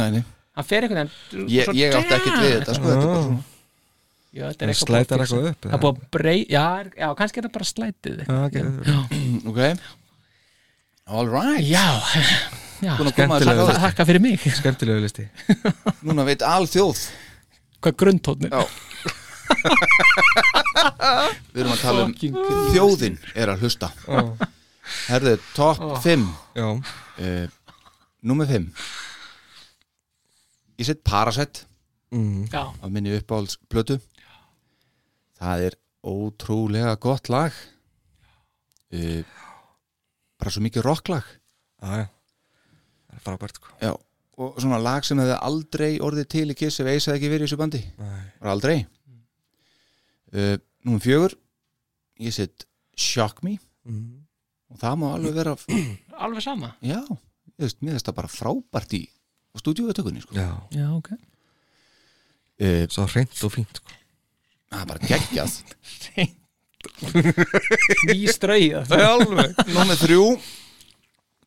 S2: nei, nei.
S3: hann fer einhvern veginn
S2: Ég,
S3: svo-
S2: ég átti ekkert við þetta sko, þetta er bara svona
S3: já, þetta er
S4: Það
S3: eitthvað
S4: slætar
S3: búið að fixa.
S4: eitthvað upp,
S3: það er búið að brey, já, já, kannski er það bara slætið
S4: Já, ok.
S2: ok all right
S3: já, já
S2: Búin að koma þér
S4: Skemmtilega.
S2: á þetta.
S3: þakka fyrir mig
S4: skemmtilegu listi
S2: núna veit all þjóð
S3: hvað grunntótnir
S2: Já. við erum að tala um þjóðin er að hlusta
S4: Já.
S2: herðu top 5
S4: Já,
S2: uh, nummer 5 ég sett Parasite
S4: mm.
S3: já,
S2: af minni uppáhaldsplötu það er ótrúlega gott lag uh, bara svo mikið rocklag
S4: já, já Það er frábært sko
S2: Já, og svona lag sem hefði aldrei orðið til í Kiss ef Ace hefði ekki verið í þessu bandi
S4: Nei.
S2: bara aldrei uh, Númer fjögur ég set Shock Me
S4: mm.
S2: og það má alveg vera
S3: alveg sama
S2: [CLEARS THROAT] já, ég veist, mér finnst það bara frábært í á stúdíuðutökunni sko.
S4: Já,
S3: já, ok
S2: uh,
S4: svo hreint og fínt sko
S2: það er bara geggjað [LAUGHS]
S3: ný ströyja
S4: Alveg
S2: Númer þrjú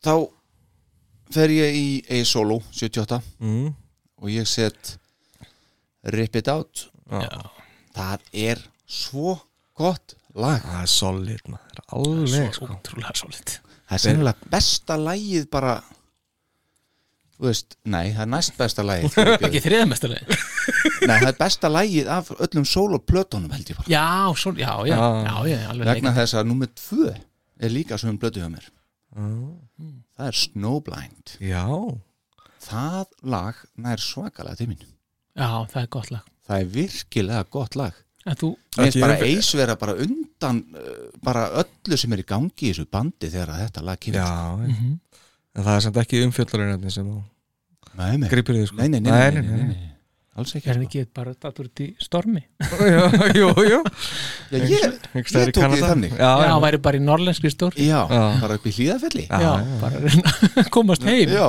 S2: þá fer ég í Ace Solo 78
S4: mm.
S2: og ég set Rip It Out
S4: Já.
S2: það er svo gott lag
S4: Það er solid maður, alveg sko
S3: ótrúlega svolít
S2: Það er sennilega besta lægið bara Þú veist, nei, það er næst besta lægið [LAUGHS]
S3: ekki þriðamestarlega
S2: Nei, það er besta lægið af öllum sóloplötunum held ég bara
S3: já, svo, já, já,
S4: Já.
S3: já, já, alveg
S2: Vegna þess að nummer tvö er líka sem blötu hjá mér Það er Snowblind
S4: Já,
S2: Það lag nær svakalega til mín
S3: leik. já, það er gott lag
S2: Það er virkilega gott lag
S3: en þú,
S2: Mér finnst
S4: Ekki
S2: bara
S4: ég-
S2: eis vera bara undan uh, bara öllu sem er í gangi í þessu bandi þegar að þetta lag
S4: já
S2: kemur
S4: En það er samt ekki umfjöllarinarni sem þú
S2: Nei, nei,
S4: gripir þig sko
S2: nei, nei, nei, nei, nei,
S4: [LAUGHS]
S2: nei, nei. Alls ekki
S3: er hann
S2: sko.
S3: ekki bara dattur út í stormi já,
S4: nei Jú, jú
S2: Já, Ég, ég
S4: Einhvers staðar í
S2: tók því
S4: Kanada.
S2: þannig
S4: Já, já,
S3: hann væri bara í norlenski stormi
S2: Já,
S4: Já.
S2: bara upp í hlíðafelli
S3: já, bara að reyna að komast heim
S2: [LAUGHS] Já,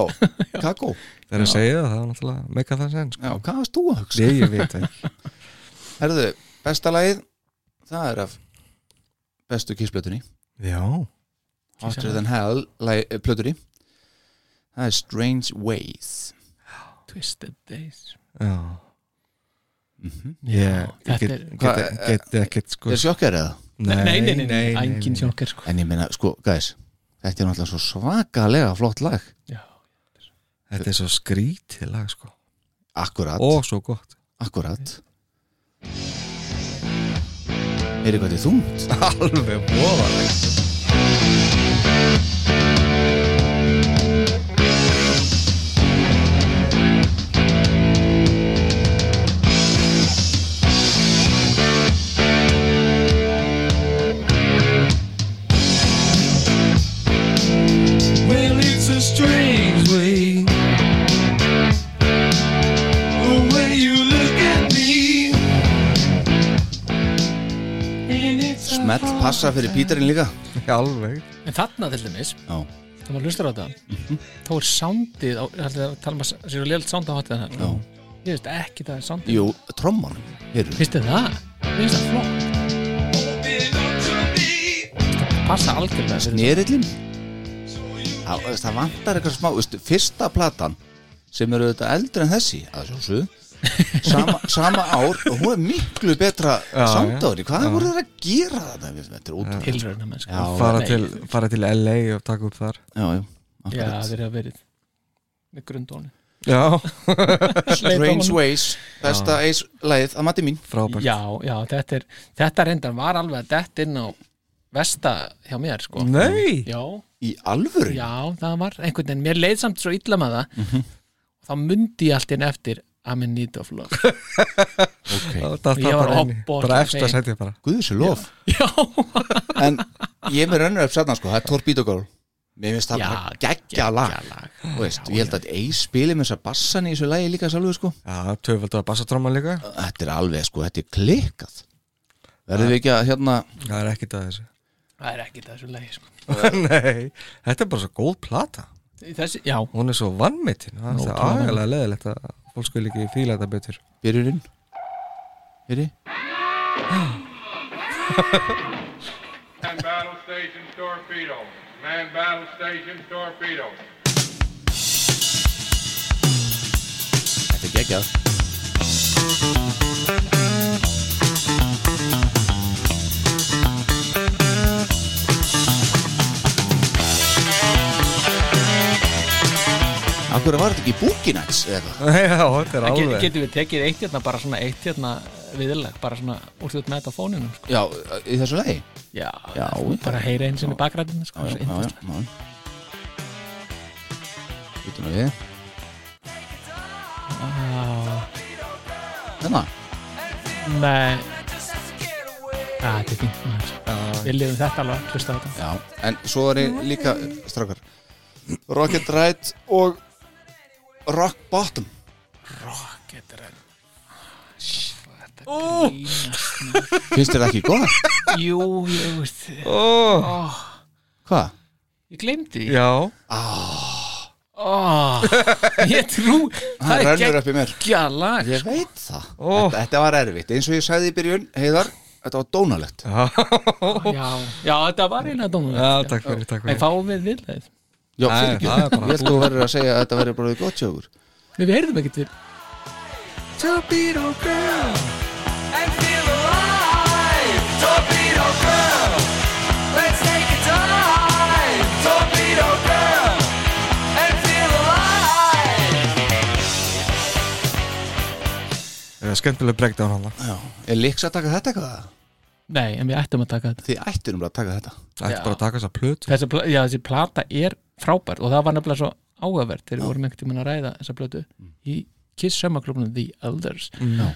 S2: kakó
S4: Það er að segja það, það er náttúrulega meika það sen sko
S2: Já, hvað varst þú að hugsa?
S4: Nei, ég veit það ekki
S2: Herðu, besta lagið Það er af bestu kissblötunni
S4: Já,
S2: Hotter than Hell lag- eh, plötunni Það er Strange Ways
S3: twisted days
S4: já
S3: Já,
S2: Mhm.
S4: Ég
S3: þetta
S4: get,
S3: er-
S4: get, get, get, sko
S2: Er sjokkar eða?
S3: nei, nei, nei, engin sjokker sko
S2: En ég meina, sko, guys Þetta er náttúrulega svo svakalega flott lag
S4: Þetta er svo skrítið lag sko
S2: Akkurat,
S4: Og svo gott
S2: akkurat Heyri hvað þetta er þungt
S4: [LAUGHS] Alveg bóðaleg
S5: Well, it's a strange way. The way you look at me. And it's a
S2: Smell passa fyrir Pítarinn líka
S4: Alveg
S3: en þarna til dæmis,
S2: Já,
S3: þegar maður hlustar á þetta þá er soundið, á- ég ætla að tala um að sér og lélt sound á hotið hann ég
S2: já
S3: veist ekki það er soundið,
S2: Jú, tromman, heyrðu
S3: finnst þið það? finnst það flott,
S5: open up to me.
S3: passa algjörlega fyrir
S2: Nerillin Það, veist, það vantar eitthvað smá veist, Fyrsta platan sem eru þetta eldri en þessi að sjálfsögðu sama, sama ár og hún er miklu betra
S4: já.
S2: samdári, hvað voru þeir að gera þetta þetta er ótrúlega
S3: tilrauna mennska
S2: Já.
S4: fara
S3: Nei.
S4: til, fara til LA og taka upp þar
S2: já, já,
S3: já,
S2: akkurat.
S3: þeir hafa verið með grundónu
S4: Já
S2: Strange Ways besta Ace lagið að mati mín
S4: Frábært
S3: já, já, þetta er þetta reyndar var alveg að dett inn á vesta hjá mér sko
S2: Mm.
S4: Nei
S3: já,
S2: í alvöru
S3: já, það var einhvern veginn, mér leið samt svo illa með það
S2: Mhm.
S3: þá mundi ég allt inn eftir I'm in need of love
S2: okay.
S4: Það það
S3: Ég var
S4: bara inn í-
S3: ofboðslega
S4: Bara eftir að
S3: fegin.
S4: setja bara
S2: Guðsir lof
S3: já,
S2: en ég er með rönnur upp sérna sko, það er Torpedo Girl mér finnst það
S3: Já,
S2: bara geggja
S3: geggjað
S2: lag
S3: lag.
S2: Þú veist, ég held að Ace spili með þessa bassan í þessu lagi líka sjálfur sko
S4: Já, töfaldar bassatróma líka
S2: þetta er alveg sko, þetta er klikkað verðum við ekki að hérna
S4: Það er ekkit að þessu
S3: það er ekki þessu lagi sko.
S4: [LAUGHS] Nei Þetta er bara svo góð plata
S3: þessi, já,
S4: Hún er svo vannmittin Það er
S3: Ótrúlega
S4: aðeinslega leðilegt að fólk skil ekki fíla þetta betur
S2: byrjurinn byrji
S6: Man battle station torpedo. Man battle station torpedo.
S2: þetta er geggjað Akkur var þetta ekki Bookinats eða eitthvað?
S4: [LAUGHS] Já, þetta
S3: það
S4: er
S3: get,
S4: alveg
S3: getum við tekið eitt hérna bara svona eitt hérna viðlag, bara svona úr því út með þetta á fóninum sko.
S2: Já, í þessu lagi?
S3: já,
S2: Já,
S3: bara heyra eins og bakræðin sko,
S2: Já,
S3: svo
S2: já, já,
S3: yndislegt.
S2: já Vítum við Þennan?
S3: Nei Já, þetta er fínt maður. Við lifum þetta alveg, hlusta á þetta
S2: Já, en svo er ég líka strákar Rocket Ride og Rock Bottom
S3: Getur enn Þetta
S2: Finnst þér það ekki góð?
S3: er Jú, ég veist
S4: Ó,
S2: Hvað?
S3: Ég gleymdi því
S4: Já
S3: Ó, Ég trú
S2: Það
S3: Það er
S2: rennur upp í mér
S3: geggja lag
S2: Ég veit það
S4: Ó.
S2: þetta, þetta var erfitt, eins og ég sagði í byrjun Heiðar, þetta var dónalegt
S3: Já, já þetta var eina dómum
S4: Já, takk fyrir, takk
S3: En
S4: fyrir
S3: fáum við viðlagið
S2: Já,
S4: Nei,
S2: fyrir ekki
S4: það er
S2: Ég
S4: bara-
S2: held að þú verður að segja að þetta verður bara gott sjókur
S3: Við heyrðum ekkert við
S4: Torpedo girl
S5: And feel alive. Torpedo girl. Let's take a dive. Torpedo girl. And feel alive.
S4: Það er skemmtilega breakdown hann
S2: Er líks að taka þetta eitthvað?
S3: Nei, en við ættum að taka þetta
S2: Þið ættir um að taka þetta
S4: Það er bara að taka þess að plötu
S3: Þessi, pla- já, þessi plata er frábært og það var nefnilega svo áhugavert þegar við vorum einhvern tímann að ræða þessa plötu
S2: Mm.
S3: í Kiss sömaklubnum The Elders
S4: Já.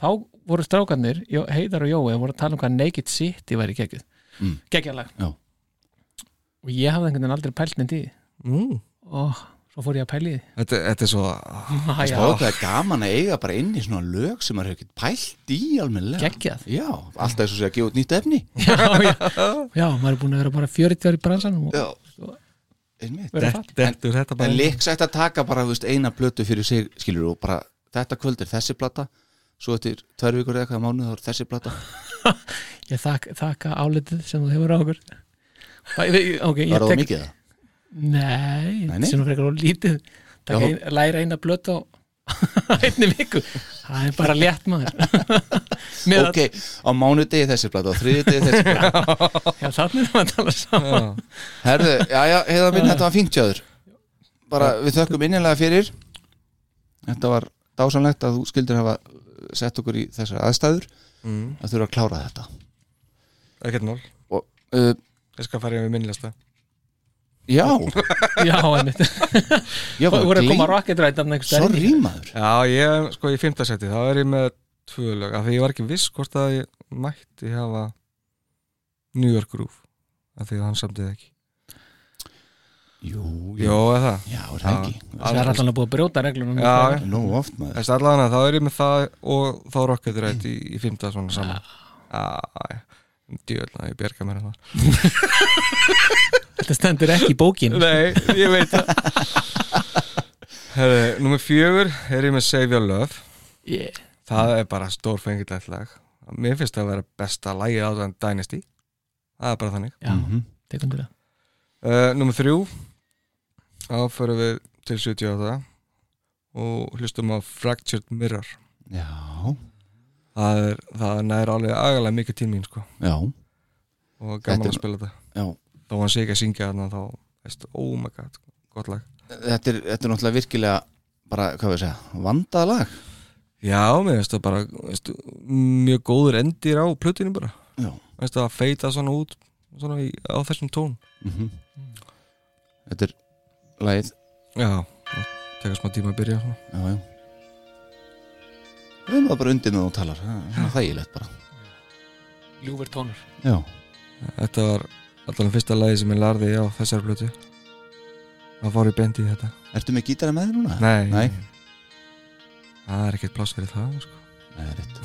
S3: þá voru strákanir Heiðar og Jói voru að tala um hvað Naked City væri geggjuð mm. geggjalag
S2: Já.
S3: og ég hafði einhvern veginn aldrei pælt nefndi í því.
S4: Mm.
S3: og svo fór ég að pæli því
S4: Þetta, þetta er svo ah,
S3: Ah, já,
S2: Spáðu hvað er gaman að eiga bara inn í svona lög sem maður hefur ekkert pælt í almennilega
S3: geggjað
S2: Já, alltaf eins og segja að gefa út nýtt efni
S3: já, já. já, maður er búin að vera bara 40 ári í bransanum og
S2: Já, einmitt
S3: vera fatt
S4: Dettur þetta bara
S2: En
S4: inn.
S2: líks ætti að taka bara þú veist, eina plötu fyrir sig skilur og bara þetta kvöld er þessi plata svo eftir tvær vikur eða eitthvað mánuð þá er þessi plata
S3: ég þak, þakka álitið sem þú hefur á okkur Æ, við- ok, ég
S2: var það
S3: tek-
S2: mikið það?
S3: Nei,
S2: Nei,
S3: nei,
S2: nei.
S3: nei. sem frekar og lítið Taka
S2: Já.
S3: ein, læra eina blötu á einni viku það er bara létt maður með
S2: ok, á mánudegi þessi blata á þriðudegi þessi blata
S3: að, já, þannig er maður að tala
S4: [LAUGHS]
S3: saman
S2: herðu, já já, heiða minn, þetta var fínt jáður bara við þökkum innilega fyrir þetta var dásanlegt að þú skildir hafa sett okkur í þessar aðstæður að þurfa að klára þetta
S4: ekkert mál,
S2: og uh,
S4: ég skal fara yfir minnlista
S2: já,
S3: já, einmitt
S2: ég var
S3: þú voru að koma
S2: gleymt
S3: rocket rætt right
S2: sorry maður
S4: já, ég, sko, í fimmtasæti, þá er ég með tvö lög, af því ég var ekki viss hvort að ég mætti hafa New York Groove af því að hann samtið ekki
S2: jú,
S4: Jó,
S2: já,
S4: eða það
S2: já, er það ekki
S3: það er alltaf búið að brjóta reglunum
S4: Já,
S2: Nú oft maður
S4: Þessi allavega þá er ég með það og þá Rocket Ride í, í fymta svona saman Já, djöðla, ég bjarga mér það
S3: þetta stendur ekki í bókin
S4: Nei, ég veit það [LAUGHS] Herri, nummer fjögur er ég með Save Your Love
S3: yeah.
S4: Það er bara stórfengilegt lag Mér finnst það að vera besta lagið á þann Dynasty Það er bara þannig
S3: já,
S2: Mm. Mhm.
S3: tekum til það
S4: uh, Nummer þrjú Þá förum við til 78 og hlustum á Fractured Mirror
S2: Já,
S4: Það er, það er nær alveg agalega mikið tímín sko
S2: já,
S4: og gaman
S2: Þetta er-
S4: að spila þetta
S2: já
S4: þó hann sé ekki að syngja þarna þá veist, oh my god, gott lag
S2: Þetta er, þetta er náttúrulega virkilega bara, hvað við segja, vandað lag
S4: já, mér finnst það bara veist, mjög góður endir á plötinu bara
S2: Já.
S4: veist, að feita svona út svona í, á þessum tón
S2: Mhm. Þetta er lagið
S4: já, það tekur smá tíma að byrja svona.
S2: Já, já Við erum það bara undir með þú talar Það er svona þægilegt bara
S3: ljúfur tónur
S2: Já,
S4: þetta var allavega fyrsta lagi sem ég larði á þessari plötu það fór í bendi í þetta
S2: ertu með gítara með þér núna?
S4: nei,
S2: Nei.
S4: það er ekkert pláss fyrir það sko.
S2: Nei, rétt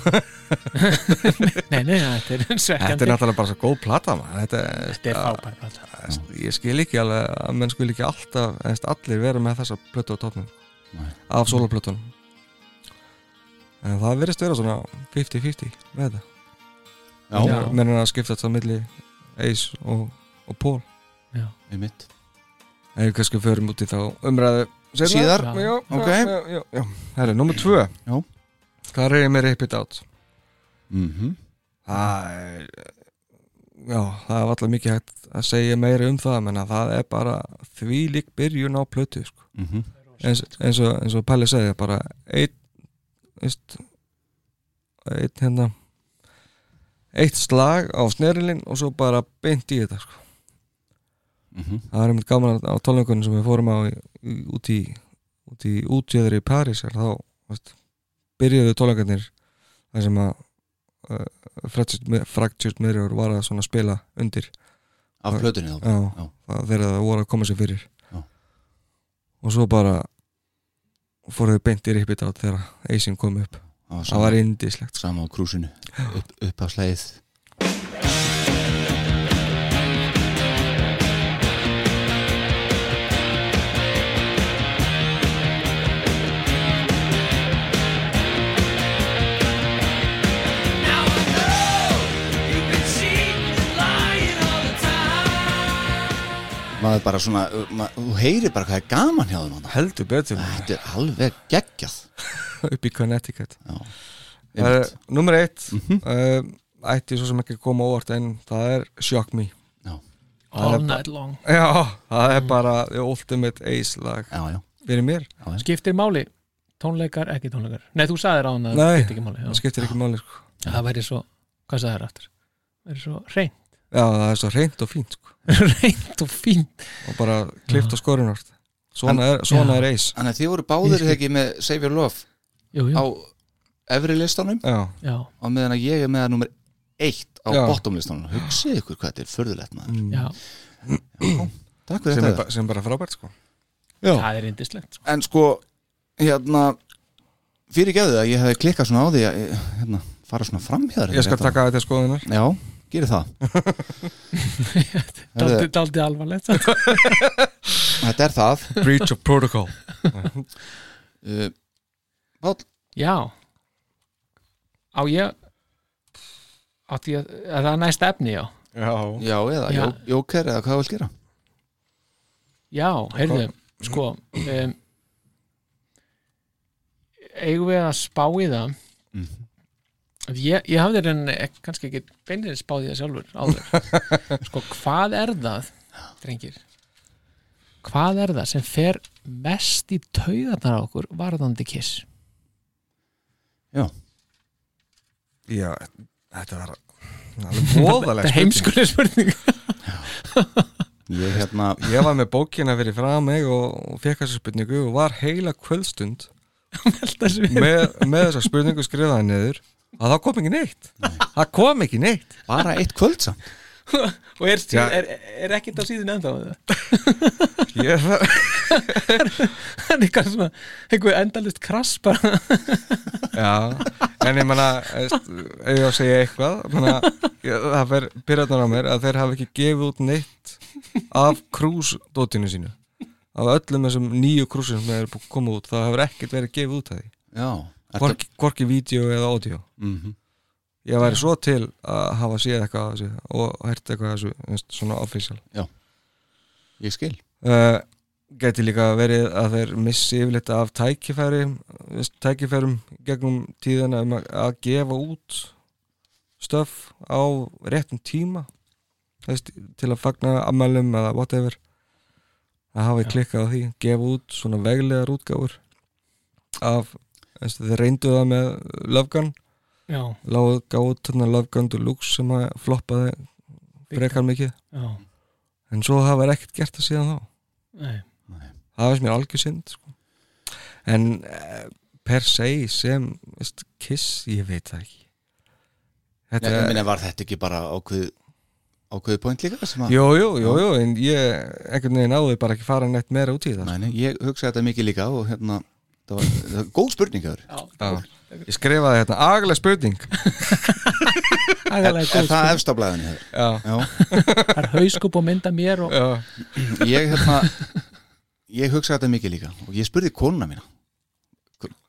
S3: nei, nei, þetta er [LAUGHS]
S4: þetta er
S3: svekkjandi
S4: náttúrulega bara svo góð plata maður. þetta,
S3: þetta er fábær plata.
S4: Æst, ég skil ekki alveg að menn skil ekki alltaf æst, allir vera með þessa plötu á topnum
S2: Nei.
S4: af soloplötunum en það verðist vera svona 50-50 með þetta
S2: Já,
S3: Já.
S4: menn er að skipta þetta á milli Ace og, og Paul
S2: við mitt
S4: en við kannski förum út í þá umræðu seinna.
S2: Síðar,
S3: Já.
S4: já,
S2: ok.
S4: já, já, já. Herri, nummer 2
S2: Já.
S4: þar er ég með Rip It Out
S2: mm
S4: það er já, það er alltaf mikið hægt að segja meira um það menn að það er bara þvílík byrjun á plötu sko
S2: mhm.
S4: eins, eins, og, eins og Palli segði bara eitt veist, eitt hérna eitt slag á snerilinn og svo bara beint í þetta sko. það er einmitt gaman á tónleikunum sem við fórum á í, í, út í út í útjöðri í París er þá veist, byrjuðu tónleikarnir þar sem að uh, Fractured Mi- Fractured Mirror var að svona spila undir
S2: Af plötunni þá
S4: já,
S2: Já.
S4: það- þegar það voru að koma sér fyrir
S2: Já.
S4: og svo bara fóruðu beint í rippið át þegar Eisin kom upp
S2: Það var
S4: það var
S2: sama,
S4: indislegt sko.
S2: sama á krúsinu upp, upp af slæðið Maður bara svona, mað, þú heyrir bara hvað er gaman hjá þeim þarna.
S4: heldur betur
S2: Þetta er alveg geggjað
S4: [LAUGHS] upp í Connecticut
S2: Já,
S4: uh,
S2: einmitt.
S4: nummer eitt
S2: Mhm.
S4: uh, ætti svo sem ekki að koma á óvart en það er Shock Me
S2: já,
S3: all night long
S4: já, það er bara the ultimate Ace lag
S2: já, já.
S4: fyrir mér
S3: skiptir máli, tónleikar, ekki tónleikar nei, þú sagðir á hann að það
S4: Nei.
S3: skiptir ekki máli
S4: það
S3: já.
S4: skiptir ekki máli sko.
S3: það væri svo, hvað sagðir aftur það væri svo hreint
S4: já, það er svo reynd og fínt sko.
S3: reynd og fín
S4: og bara klift á skorinort svona, er, svona er Ace
S2: Þannig að þið voru
S3: Ég
S2: báðir
S3: skil.
S2: þegar ekki með Save Your Love
S3: jú, jú,
S2: á efri listanum
S4: já,
S3: já,
S2: og meðan að ég er með að nummer eitt á
S4: Já.
S2: bottom listanum Hugsið ykkur hvað þetta er förðulegt maður
S3: já,
S2: Takk fyrir
S4: sem, er,
S2: þetta
S4: ba- sem er bara frábært sko.
S2: já.
S3: það er indislegt sko.
S2: En sko, hérna fyrir gefðu að ég hefði klikkað svona á því að eh, hérna, fara svona fram hjá þér
S4: ég skal
S2: hérna.
S4: taka þetta skoðunar
S2: Já, gerir það
S3: daldi, daldi alvarlegt samt.
S2: Þetta er það
S4: [LAUGHS] Breach of Protocol
S2: uh, Páll,
S3: [LAUGHS] já á ég átti ég, að það er næst efni já
S4: Já
S2: já eða
S3: Já.
S2: já. Jóker eða hvað þú vilt gera
S3: sko, já, heyrðu, sko um, eigum við að spá í það Mhm. að ég, ég hafði reyna kannski ekki beinir spáð í það sjálfur áður [LAUGHS] sko hvað er það drengir hvað er það sem fer mest í taugarnar á okkur varðandi kiss
S2: Já,
S4: Já, þetta var alveg voðalega
S3: þetta heimskulega spurning [LAUGHS]
S2: ég hérna
S4: Ég var með bókina fyrir frá mig og, og fekk þessa spurningu og var heila kvöldstund
S3: Þessu við-
S4: með, með þessa spurningu skrifaði niður að það kom ekki neitt það kom ekki neitt
S2: bara eitt kvöld samt
S3: og er,
S4: Já.
S3: er, er ekkert á síðun ennþá
S4: ég,
S3: [LAUGHS] það er eitthvað svona einhver endalist krass bara
S4: já, en ég manna ef ég á að segja eitthvað manna, ég, það fer pyrrðan á mér að þeir hafa ekki gefið út neitt af krúsdótinu sínu af öllum þessum nýju krúsum sem er komið út, það hefur ekkert verið gefið út af því
S2: Já, þetta,
S4: hvorki, hvorki vídeo eða audio
S2: Mhm.
S4: ég væri svo til að hafa séð eitthvað af þessu og hært eitthvað af þessu veist, svona official
S2: ég skil
S4: uh, geti líka verið að þeir missi yfirleitt af tækifæri veist, tækifærum gegnum tíðina um að, að gefa út stöf á réttum tíma veist, til að fagna ammælum eða whatever að hafa klikkað á því, gefa út svona veglegar útgáfur af, veist, þeir reyndu það með löfgan
S3: já,
S4: lág gátt hérna Love Gun Deluxe sem að floppaði frekar mikið
S3: já,
S4: en svo það var ekkert gert það síðan þá
S3: nei
S4: það var sem ég algjör synd sko. en eh, per se sem veist, kiss, ég veit það ekki
S2: Nei,
S4: þetta
S2: ég
S4: er
S2: meina var þetta ekki bara ákveð ákveðið point líka sem að
S4: Jú, jú, jú, jú, en ég einhvern veginn áður bara ekki fara neitt meira út í það sko.
S2: Nei, nei, ég hugsaði þetta mikið líka og hérna það var, það var góð spurning hjá þér.
S4: Já. Ég skrifaði hérna, agalega spurning
S3: Agalega
S2: Er
S3: góð
S2: það efst á blæðinu hér?
S4: Já,
S2: Já
S3: það er hauskup og mynda mér og
S4: já,
S2: ég hérna ég hugsaði þetta mikið líka og ég spurði konuna mína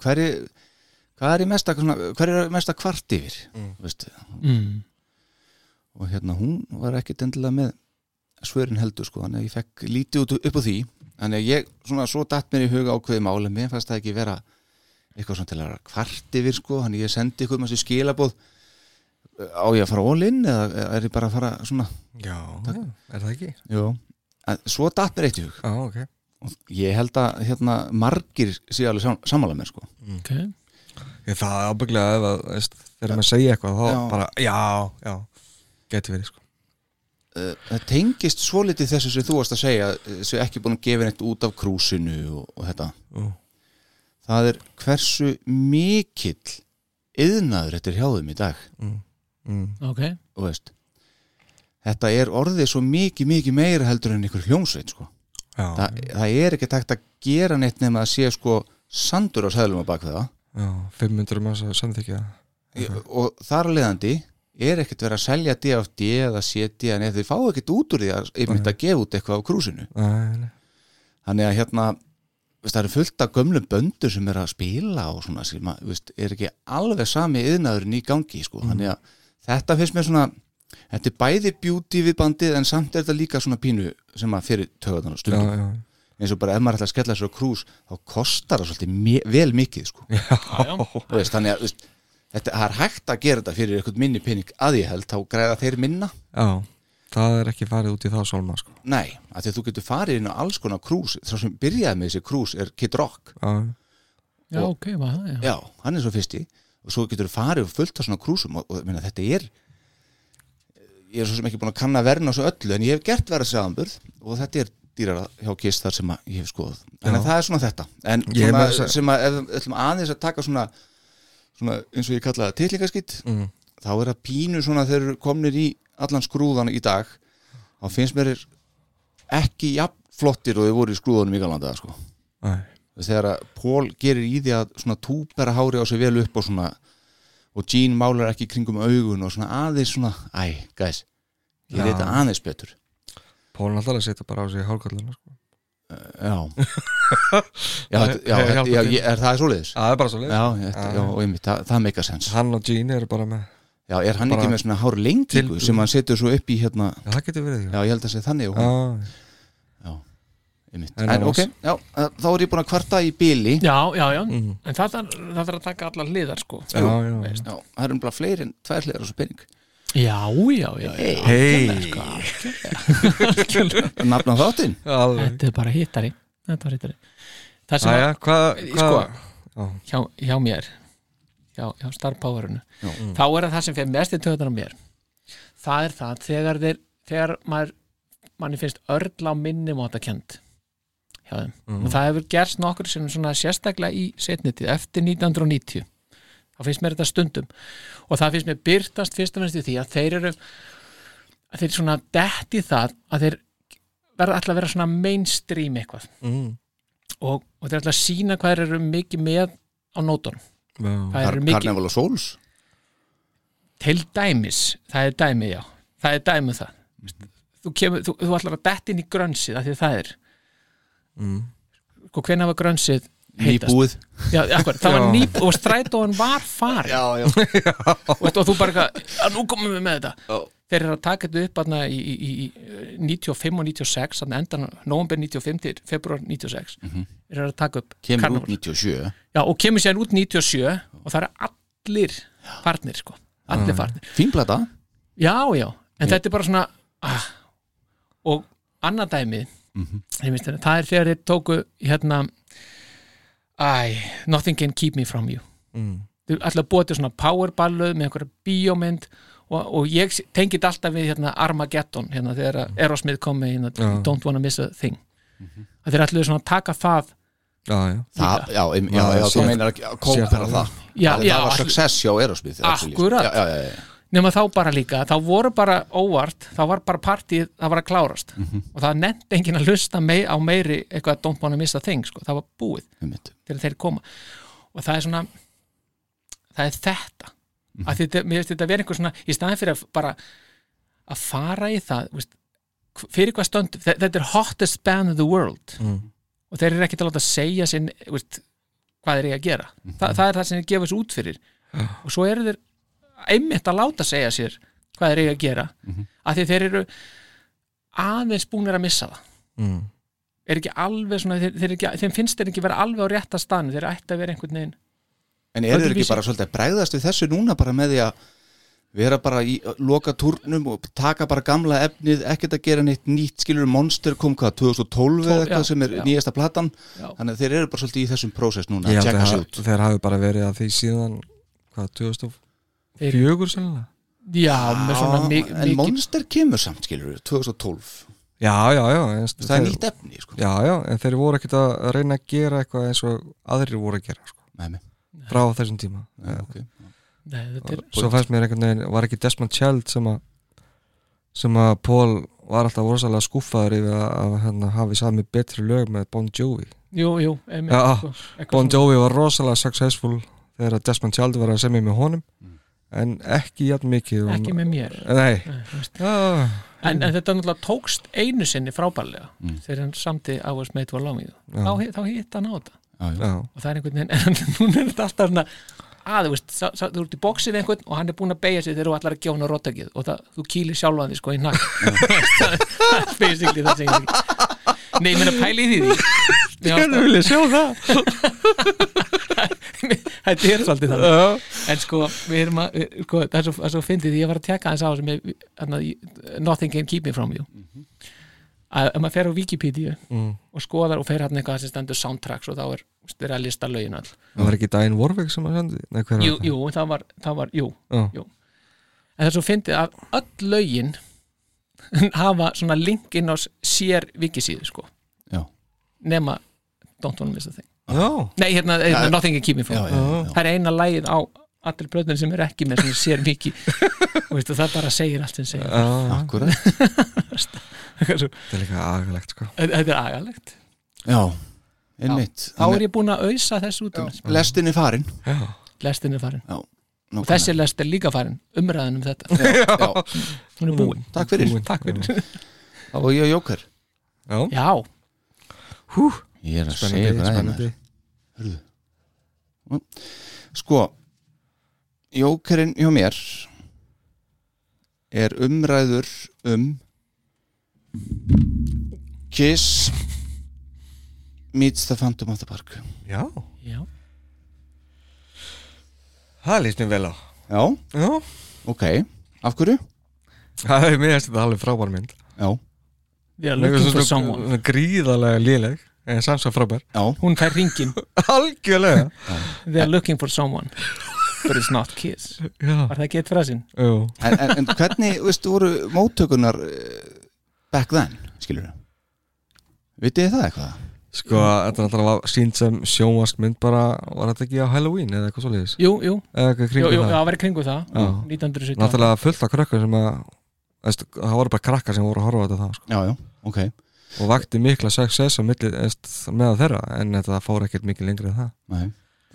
S2: hver er hvað er í mesta, svona, hver er mesta kvart yfir veistu,
S3: mm.
S2: og hérna hún var ekkit endilega með svörin heldur sko, þannig að ég fekk lítið út upp á því þannig að ég svona svo datt mér í huga ákveði máli, mér fannst það ekki vera eitthvað svona til að vera kvart yfir sko, þannig að ég sendi ykkur maður skilabóð á ég að fara ólinn eða eða er ég bara að fara svona
S4: já, er það ekki?
S2: Jó. svo datt mér eitt í hug
S4: Já, ok
S2: Og ég held að hérna margir sé alveg sam sammála mér sko
S3: ok,
S4: Ég það er ábygglega ef að veist, þegar maður segja eitthvað þá
S2: Já.
S4: bara, já, já geti verið sko
S2: Uh, það tengist svolítið þessu sem þú varst að segja uh, sem ekki búin að gefa neitt út af krúsinu og, og þetta
S4: Ú.
S2: það er hversu mikill yðnaður þetta er hjá þeim í dag
S4: mm.
S3: ok
S2: og veist þetta er orðið svo mikið mikið meira heldur en einhver hljómsveit sko
S4: Já,
S2: Þa, það er ekki takt að gera neitt nema að sé sko sandur á sæðlum að bak það
S4: já, 500 manns að samþykja það.
S2: Ég- og þar að leiðandi er ekkert verið að selja DFD eða CD en E, þeir fá ekkert út úr því að einmitt að gefa út eitthvað á krúsinu
S4: Nei, nei.
S2: þannig að hérna veist, það eru fullt af gömlum böndur sem er að spila og svona sem að, veist, er ekki alveg sami yðnaðurinn í gangi sko.
S4: Mhm.
S2: þannig að þetta finnst mér svona þetta er bæði beauty við bandið en samt er þetta líka svona pínu sem að fyrir töðan og
S4: Já,
S2: stundum
S4: já,
S2: eins og bara ef maður ætlar að skella sér á krús þá kostar það svolítið mi- vel mikið sko. Þú veist, þannig að veist, þetta það er hægt að gera þetta fyrir eitthvað minni pening að ég held þá græða þeir minna
S4: já Það er ekki farið út í það sólma sko.
S2: nei, af því að þú getur farið inn á alls konar krús þá sem byrjaði með þessi krús er Kid Rock
S4: já,
S3: já, ok, var það, já
S2: já, hann er svo fyrsti og svo getur þú farið og fullt af svona krúsum og, og minna, þetta er eh, ég er svo sem ekki búin að kanna verðin á svo öllu en ég hef gert verða samanburð og þetta er dýrara hjá kist þar sem að ég hef skoðað en
S4: Já.
S2: það er svona þetta en
S4: Ég er
S2: svona,
S4: meira að-
S2: sem að ef við ætlum aðeins að taka svona, svona eins og ég kalla það titlingaskitt
S4: mm.
S2: þá er það pínu svona þegar þeir eru komnir í allan skrúðan í dag þá finnst mér þeir ekki jafn flottir og þeir voru í skrúðanum í galanda sko.
S4: Nei.
S2: þegar að Pól gerir í því að svona túpera hári á sig vel upp og svona og Jean málar ekki kringum augun og svona aðeins svona, æ, guys ég
S4: Já.
S2: reyta aðeins betur
S4: Pólun alltaf að setja bara á sig hálkallina sko.
S2: já, já, þetta- já,
S4: Hefur
S2: þetta-
S4: hjálpað
S2: já
S4: til.
S2: ég, er það svoleiðis?
S4: Það er bara svo leið
S2: Já, þetta, já, og einmitt, það, það meika sens
S4: Hann og Gene eru bara með Já,
S2: Já, er hann
S4: Bara-
S2: ekki með svona hár lengingu
S4: Til-
S2: sem hann setur svo upp í hérna
S4: það getur verið
S2: Já, ég held að segja þannig og hún
S4: Já,
S2: einmitt. en,
S4: En annars-
S2: ok, já, eh, þá er ég búin að kvarta í bíli
S3: Já, já, já, en það þarf það þarf að taka allar hliðar sko
S4: Já, já, já.
S3: veist.
S2: Já, það er umlað fleiri en tvær hliðar á þessu pening
S3: Já, já, já, já.
S4: Hei,
S2: sko. Nafna þáttinn
S4: alveg
S3: Þetta er bara hittari Þetta var hittari Það sem
S4: Æja,
S3: Í
S4: hvað, hvað
S2: sko.
S3: hjá, hjá mér hjá, hjá starfpáverinu þá er það það sem fyrir mest í töðunar á mér það er það þegar þeir þegar maður manni finnst örla á minni móta kent hjá þeim og það hefur gerst nokkur sem svona sérstaklega í setnitið eftir 1990 þá finnst mér þetta stundum og það finnst mér byrtast fyrst og finnst í því að þeir eru að þeir svona detti það að þeir verða alltaf að vera svona mainstream eitthvað
S4: mm.
S3: og, og þeir ætla að sína hvað þeir eru mikið með á nótunum
S4: Já,
S3: hvað þeir eru mikið
S2: Carnival of Souls
S3: til dæmis, það er dæmi já það er dæmi um það þú, kemur, þú, þú ætlar að detta inn í grönsið af því að það er
S4: Mm.
S3: og hvernig hafa grönsið heitast
S2: Nýbúið
S3: já, akkur, það var
S4: Já.
S3: nýp og strætóan var farin
S2: Já, já
S3: og, veist, og þú bara eitthvað, að nú komum við með þetta
S2: Já.
S3: þeir eru að taka þetta upp aðna, í, í, í eh, 95 og 96 þannig endan november 95 til februar 96 mm -hmm. eru að taka upp
S2: Kemur
S3: Carnival.
S2: út 97
S3: Já, og kemur sér út 97 og það eru allir farnir sko, allir farnir
S2: Fínplata
S3: Já, já, en þetta er bara svona ah, og annað dæmi
S4: Mhm.
S3: mm -hmm. það er þegar þeir tóku hérna Æ, nothing can keep me from you
S4: Mm.
S3: Þeir ætla að búa til svona powerballuð með einhverja bíómynd og, og ég tengi þetta alltaf við hérna Armageddon, hérna þegar að Aerosmith kom með hérna,
S4: Mm. Já. Mhm.
S3: don't wanna miss a thing að þeir ætluðu svona að taka það
S4: já, já
S2: Það, já, em- já,
S4: Já,
S2: já, þú
S4: sér-
S2: meinar að kópera
S4: sér-
S2: það
S3: Já,
S2: Það
S3: já,
S2: var
S3: all-
S2: success hjá Aerosmith actually.
S3: Akkurat.
S2: Já, já, já, já
S3: nema þá bara líka, þá voru bara óvart, þá var bara partíð, það var að klárast og það nefndi enginn að hlusta mei, á meiri eitthvað að don't wanna miss a thing sko. það var búið
S2: einmitt.
S3: til þeir koma og það er svona það er þetta mm -hmm. þetta, mér finnst þetta verið einhver svona, í staðin fyrir að bara að fara í það þú veist, hv- fyrir hvað stönd þe- þetta er hottest band in the world
S4: Mm.
S3: og þeir eru ekkert að láta segja sinn, þú veist, hvað þeir eru að gera Þa, það er það sem þeir gefa þessu út fyrir og svo eru þeir einmitt að láta segja sér hvað þeir eiga að gera af því að þeir eru aðeins búnir að missa það
S4: Mm.
S3: er ekki alveg svona, þeir, þeir eru ekki, þeim finnst þeir ekki vera alveg á rétta staðan, þeir ætti að vera einhvern veginn
S2: En eru þeir ekki
S3: Öðruvísi.
S2: bara svolítið að bregðast við þessu núna bara með því að vera bara í loka turnum og taka bara gamla efnið, ekkert að gera neitt nýtt skilur Monster kom hvað, 2012 eða
S3: Tól-
S2: eitthvað
S3: já,
S2: sem er
S3: já.
S2: nýjasta platan
S3: Já.
S2: þannig að þeir eru bara svolítið í þessum prósess núna
S4: Ég
S2: að
S4: held
S2: tjekka
S4: að
S2: sig
S4: það-
S2: út
S4: þeir hafi bara verið að því síðan hvað, 2004 sennilega
S3: já, með svona mi-
S2: Já, en
S3: mikið
S2: Monster kemur samt skilur 2012,
S4: Já, já, já eins,
S2: það er nýtt efni sko.
S4: Já, já, en þeir voru ekkert að reyna að gera eitthvað eins og aðrir voru að gera sko,
S2: Nei, nei,
S4: frá þessum tíma
S2: já, ok.
S3: Nei, þetta er-
S4: Svo fannst mér einhvern veginn, var ekki Desmond Child sem að sem að Paul var alltaf rosalega skúffaður yfir að, að hann hafi sami betri lög með Bon Jovi
S3: jú, jú, einmitt
S4: Já,
S3: sko, eitthvað
S4: Bon
S3: svona.
S4: Jovi var rosalega successful þegar að Desmond Child var að semja með honum en ekki jafn mikið og-
S3: ekki með mér
S4: Nei,
S3: Nei, þú veist.
S4: já,
S3: en, en þetta náttúrulega tókst einu sinni frábærlega þegar hann samti I was made for loving you þá, hi- þá hitt hann á þetta
S4: já,
S3: og það er einhvern veginn, [LAUGHS] en núna er þetta alltaf svona að þú veist, sá- sá- þú ert í bóksi við einhvern og hann er búin að beigja sig þegar þú ætlar að gefa hann á róttakið og það, þú kýlir sjálfan þig sko [LAUGHS] í nakk basically það segir ekki nei, ég meina pæli í því [LAUGHS] sko. því ég vilja sjá það [LAUGHS] þetta er svolítið það en sko, við erum að við- sko, það er svo, það er svo fyndið, því ég var að tekka hans á sem ég, annað, nothing can keep me from you að ef maður fer á Wikipedia
S4: Mm.
S3: og skoðar og fer hann eitthvað sem stendur soundtracks og þá er, þú er að lista lögin all
S4: það var ekki Dæin Warwick sem að sendi Nei, hver var
S3: jú,
S4: það?
S3: jú, það var, það var, jú
S4: Mm. Já.
S3: jú. en það er svo fyndið að öll lögin [LAUGHS] hafa svona link inn á s- sér vikisíðu sko
S2: Já.
S3: nema Don't Wanna Miss a Thing
S4: Já,
S3: nei, hérna, hérna Nothing Can Keep Me From
S2: Já, já, já.
S3: það er eina lægið á allir blöðin sem er ekki með svona sér
S2: [LAUGHS]
S3: viki og veistu, það bara segir allt sem segir
S4: já,
S2: akkurat
S4: þetta er líka agalegt sko
S3: [LAUGHS] þetta er agalegt
S2: Já, einmitt
S3: þá er ég búin að auðsa þessu út um
S2: Lestin er farin
S4: Já,
S3: lestin er farin
S2: Já,
S3: og þessi lest er líka farin umræðan um þetta
S2: nákvæmlega. Já,
S3: hún er búin
S2: já. Takk fyrir,
S3: takk fyrir
S2: þá er ég og Jóker
S4: já,
S3: já
S4: hú
S2: Ég er að segja
S4: Spennandi,
S2: ykkur aðeins
S4: spennandi
S2: Sko Jókerinn hjá mér er umræður um Kiss Meets the Phantom of the Park
S4: Já,
S3: Já,
S4: það líst mér vel á
S2: Já,
S4: Já, [LAUGHS]
S2: ok, af hverju?
S4: það er mér eftir þetta alveg frábær mynd
S2: Já,
S3: við erum
S4: Hún er
S3: looking
S4: svo-
S3: for someone
S4: svona Gríðarlega léleg En samt svo frábær [LAUGHS]
S2: já,
S3: Hún fær ringin,
S4: Algjörlega
S3: they are looking for someone [LAUGHS] But it's not kiss
S4: Já,
S3: Var það ekki eitt frasinn?
S4: jú
S2: en, en, en hvernig, veistu, voru móttökunar eh, back then, skilur við? Vitið þið það eitthvað?
S4: Sko, þetta er náttúrulega var sínt sem sjónvaskmynd bara Var þetta ekki á Halloween eða eitthvað svoleiðis?
S3: Jú, jú,
S4: Eða eitthvað
S3: jú,
S4: kringum
S3: jú,
S4: það
S3: það var í kringu það
S4: Já.
S3: 1970
S4: Náttúrulega fullt af krakkar sem að veist, Það voru bara krakkar sem voru að horfa á þetta þá sko.
S2: Já, já, ok,
S4: Og vakti mikla success á milli veist, með þeirra En þetta fór ekkert mikið lengri en það
S2: nei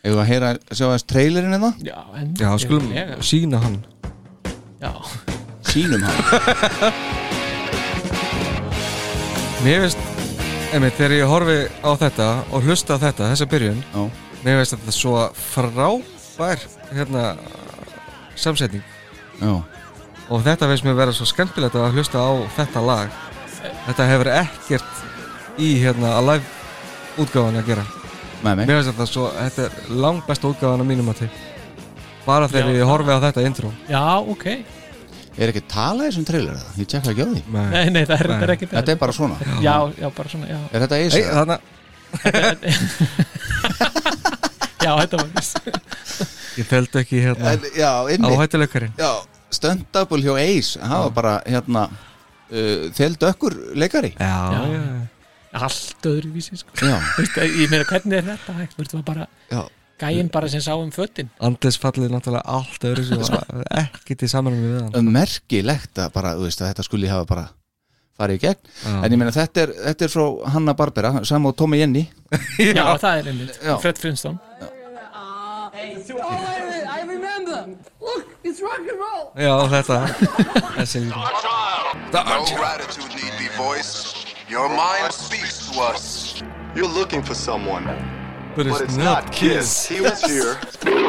S2: Eigum við að heyra, sjá aðeins trailerinn hérna? eða?
S3: Já, en
S4: Já, skulum
S3: Já,
S4: sína hann
S3: já,
S2: Sýnum hann
S4: Mér finnst, einmitt, þegar ég horfi á þetta Og hlusta á þetta, þessa byrjun
S2: [LAUGHS] Já,
S4: Mér finnst þetta svo frábær Hérna Samsetning
S2: já,
S4: og þetta finnst mér vera svo skemmtilegt að hlusta á þetta lag þetta hefur ekkert í hérna að live útgáfan að gera
S2: með mig
S4: mér finnst þetta svo, þetta er langt besta útgáfan að mínum að til bara þegar
S3: Já.
S4: ég horfi á þetta intro
S3: já, ok
S2: Er ekki talað í þessum trailer eða? Ég tjekka ekki á því
S3: Nei, nei, það er,
S4: Nei.
S3: það er ekki
S2: Þetta er bara svona
S3: Já, já, bara svona, [LAUGHS] já
S2: Er þetta
S4: Ei,
S2: eisa?
S4: þannig,
S3: Já, þetta var viss
S4: ég fældi ekki hérna
S2: En, já, einmitt
S4: áhættuleikarinn
S2: Já, stöndabul hjá Ace Það var bara, hérna uh, Þeldu ökkur leikari
S4: já,
S3: Já.
S4: já.
S3: Allt öðruvísi, sko
S2: Já,
S3: Veistu, ég meina, hvernig er þetta hægt? Þú veist, bara
S2: já,
S3: gæinn bara sem sá um fötin
S4: Andlis fallið náttúrulega allt öðru sem var ekkert í samanum við hann
S2: merkilegt að bara, þú veist, að þetta skuli hafa bara farið í gegn, en
S4: Já.
S2: ég meina þetta er, þetta er frá Hanna Barbera, saman og Tommy Jenny
S3: Já, það er einmitt
S2: Já.
S3: Fred Flintstone
S5: Oh, wait a minute, I remember. Look, it's rock and roll.
S4: já,
S7: [LAUGHS]
S4: þetta þessi
S7: No gratitude need be voiced. Your mind speaks to us. You're looking for someone,
S4: but
S7: but it's not Kiss. He was here. Sam's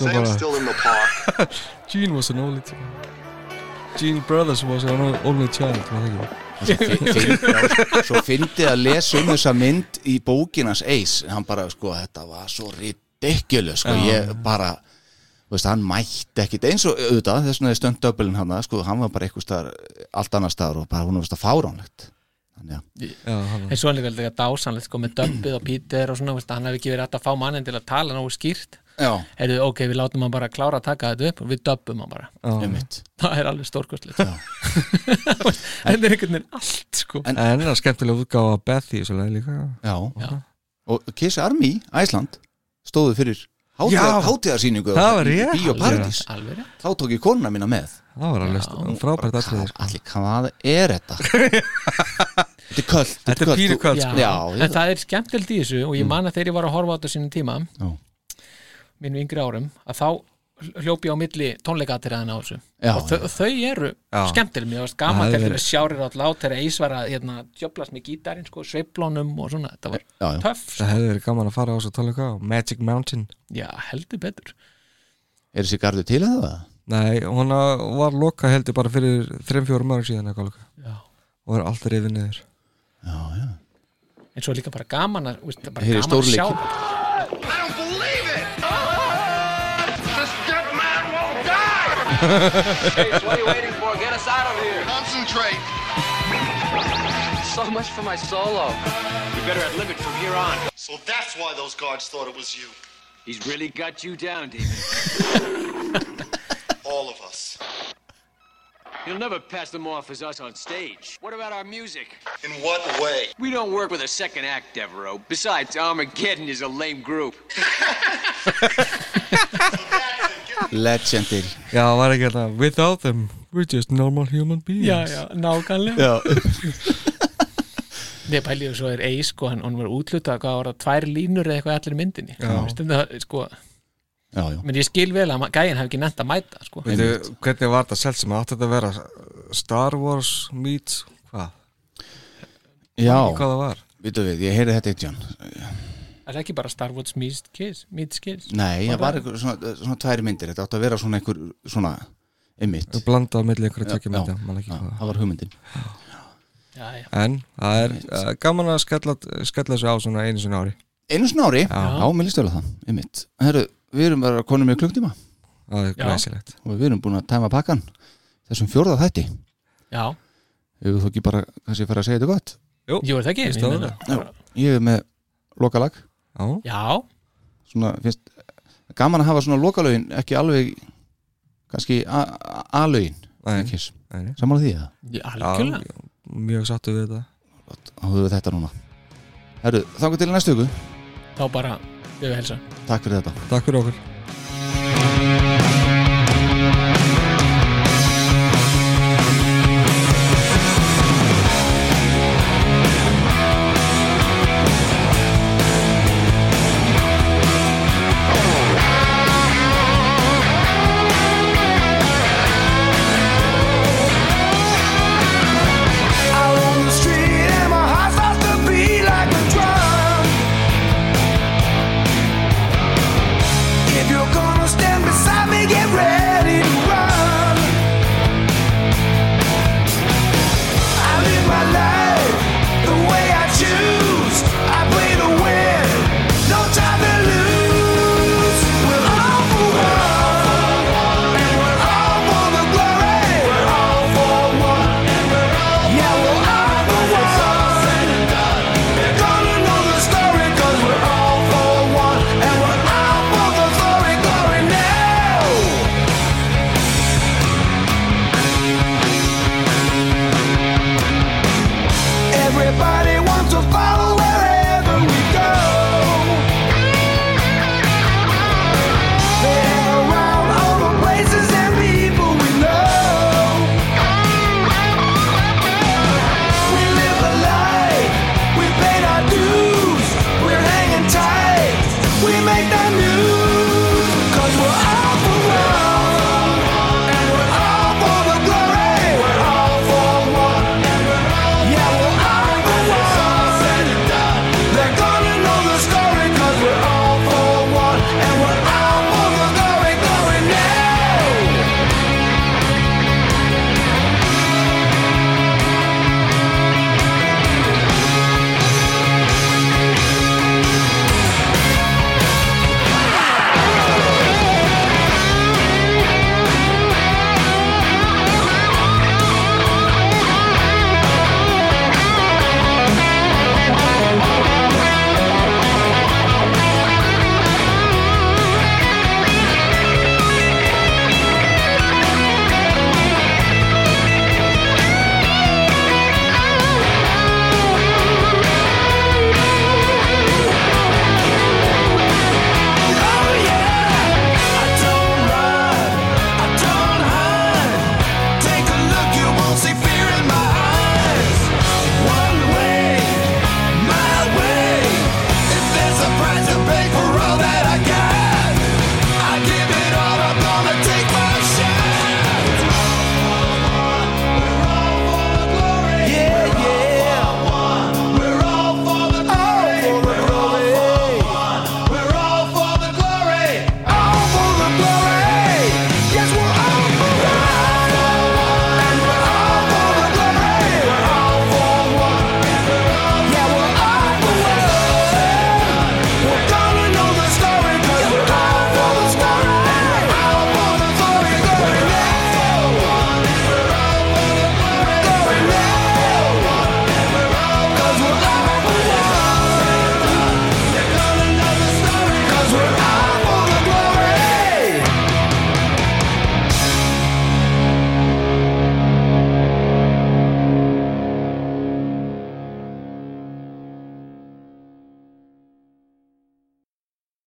S4: bara-
S7: still in the park.
S4: [LAUGHS] Gene was an only child Gene Brothers was an only child var það ekki?
S2: svo fyndi að lesa um þessa mynd í bókinas Ace, hann bara, sko, þetta var svo ridiculous, sko, ég bara þú veist, hann mætti ekkit eins og auðvitað, þess vegna er stöndabulin hann sko, hann var bara eitthvað staðar, allt annar staðar og bara hún var fáránlegt þannig að,
S4: Já, hann var-
S3: En svo er líka líka dásanlegt sko með dömpið og Peter og svona, veist, hann hefði ekki verið hægt að fá mannin til að tala nógu skýrt
S2: já,
S3: Heyrðu, ok, við látum hann bara klára að taka þetta upp og við dömpum hann bara [LAUGHS]
S4: Já.
S2: um mitt
S3: Það er alveg stórkostlegt [LAUGHS] En það er einhvern veginn allt sko
S2: En-
S4: En það er skemmtilega útgáfa að Beth í þessu leið líka
S2: Já.
S3: Já.
S2: Og Kiss Army, Æsland stóðu fyrir
S4: Já.
S2: hátíðar, hátíðarsýningu
S4: Það var
S2: í,
S4: rétt.
S2: í Bíó Paradís
S3: Alveg rétt.
S2: Þá tók ég konuna mína með
S4: Það var alveg st- frábært sko.
S2: Bara,
S4: atrið
S2: "Hvað- Allir, hvað er
S4: [LAUGHS]
S2: þetta? þetta er köld
S4: Þetta er pínu köld
S3: Já,
S2: sko. Já,
S3: en það er skemmtilegt í þessu og ég man að þegar ég var að horfa á þetta á sínum tíma
S2: Já.
S3: mínum yngri árum að þá hljóp ég á milli tónleikatriðan á þessu
S2: Já,
S3: og þau, þau eru
S4: Já.
S3: skemmtileg mér varst
S4: Það
S3: gaman
S4: er
S3: til
S4: verið-
S3: þegar sjárir átt lát þegar Ís var að hérna, djöflast með gítarinn sko, sveiplónum og svona, þetta var
S2: Já, já.
S3: töff sko.
S4: Það hefði verið gaman að fara á þessu tónleika á Magic Mountain
S3: já, heldur betur
S2: Er þessi gardu til að það?
S4: Nei, hún að- var loka heldur bara fyrir 3-4 mörg síðan eitthvað loka
S3: já.
S4: og er alltaf reyðið niður
S2: Já, já
S3: en svo er líka bara gaman að, veist, bara
S2: Heyri
S3: gaman að
S2: stórleiki.
S3: sjá
S8: I don't believe it! The stunt man won't die!
S5: Chase, what are you waiting for? Get us out of here.
S7: Concentrate.
S5: So much for my solo.
S8: You better at limit from here on.
S7: So that's why those guards thought it was you.
S5: He's really got you down, Demon.
S7: All of us.
S5: You'll never pass them off as us on stage. What about our music?
S7: In what way?
S5: We don't work with a second act, Devereaux. Besides, Armageddon is a lame group.
S2: Legendary
S4: Já, það var ekki þetta Without them, we're just normal human beings
S3: já, já, nákvæmlega
S2: Já,
S3: Nei, pæliðu svo er Ís, sko, hann, hann var útlutað hvað var það, tvær línur eða eitthvað í allir myndinni Veistu, það, sko,
S2: já, já
S3: menn ég skil vel að ma- gæinn hafi ekki nefnt að mæta sko.
S4: Veitu, hvernig var þetta selt sem átti þetta að vera Star Wars meets hvað,
S2: Já,
S4: hvað það var
S2: vitum við, ég heyrði þetta eitt Jón
S3: það er ekki bara Star Wars meets kids, meets kids.
S2: Nei, það var einhver, svona, svona tværi myndir Þetta átti að vera svona einhver, svona einmitt
S4: blanda á milli einhverja tökja
S2: Já,
S4: myndi
S2: já, það var hugmyndin
S3: já, já.
S4: en það er uh, gaman að skella, skella þessu á svona einu sinni ári
S2: einu svona ári,
S4: Já.
S2: já, mér líst vel að það einmitt, herru, við erum bara konum með klukktíma
S4: það er
S3: Já.
S4: glæsilegt
S2: og við erum búin að tæma pakkan þessum fjórða þætti,
S3: já.
S2: ef þú ekki bara kannski fara að segja þetta gott
S3: Jú, er það ekki?
S4: Veist
S3: Ég
S4: það
S3: meina-
S2: ég er með lokalag
S4: Já,
S3: Já,
S2: svona, finnst, gaman að hafa svona lokalögin ekki alveg kannski a- a- A-lögin
S4: Nei.
S2: Kiss.
S4: Nei, nei.
S2: sammála því að
S3: já,
S4: já
S3: algjörlega
S4: mjög sattu við þetta
S2: hafa við þetta núna herru, þá til í næstu viku,
S3: Þá bara, við við helsa
S2: takk fyrir þetta
S4: Takk fyrir okkur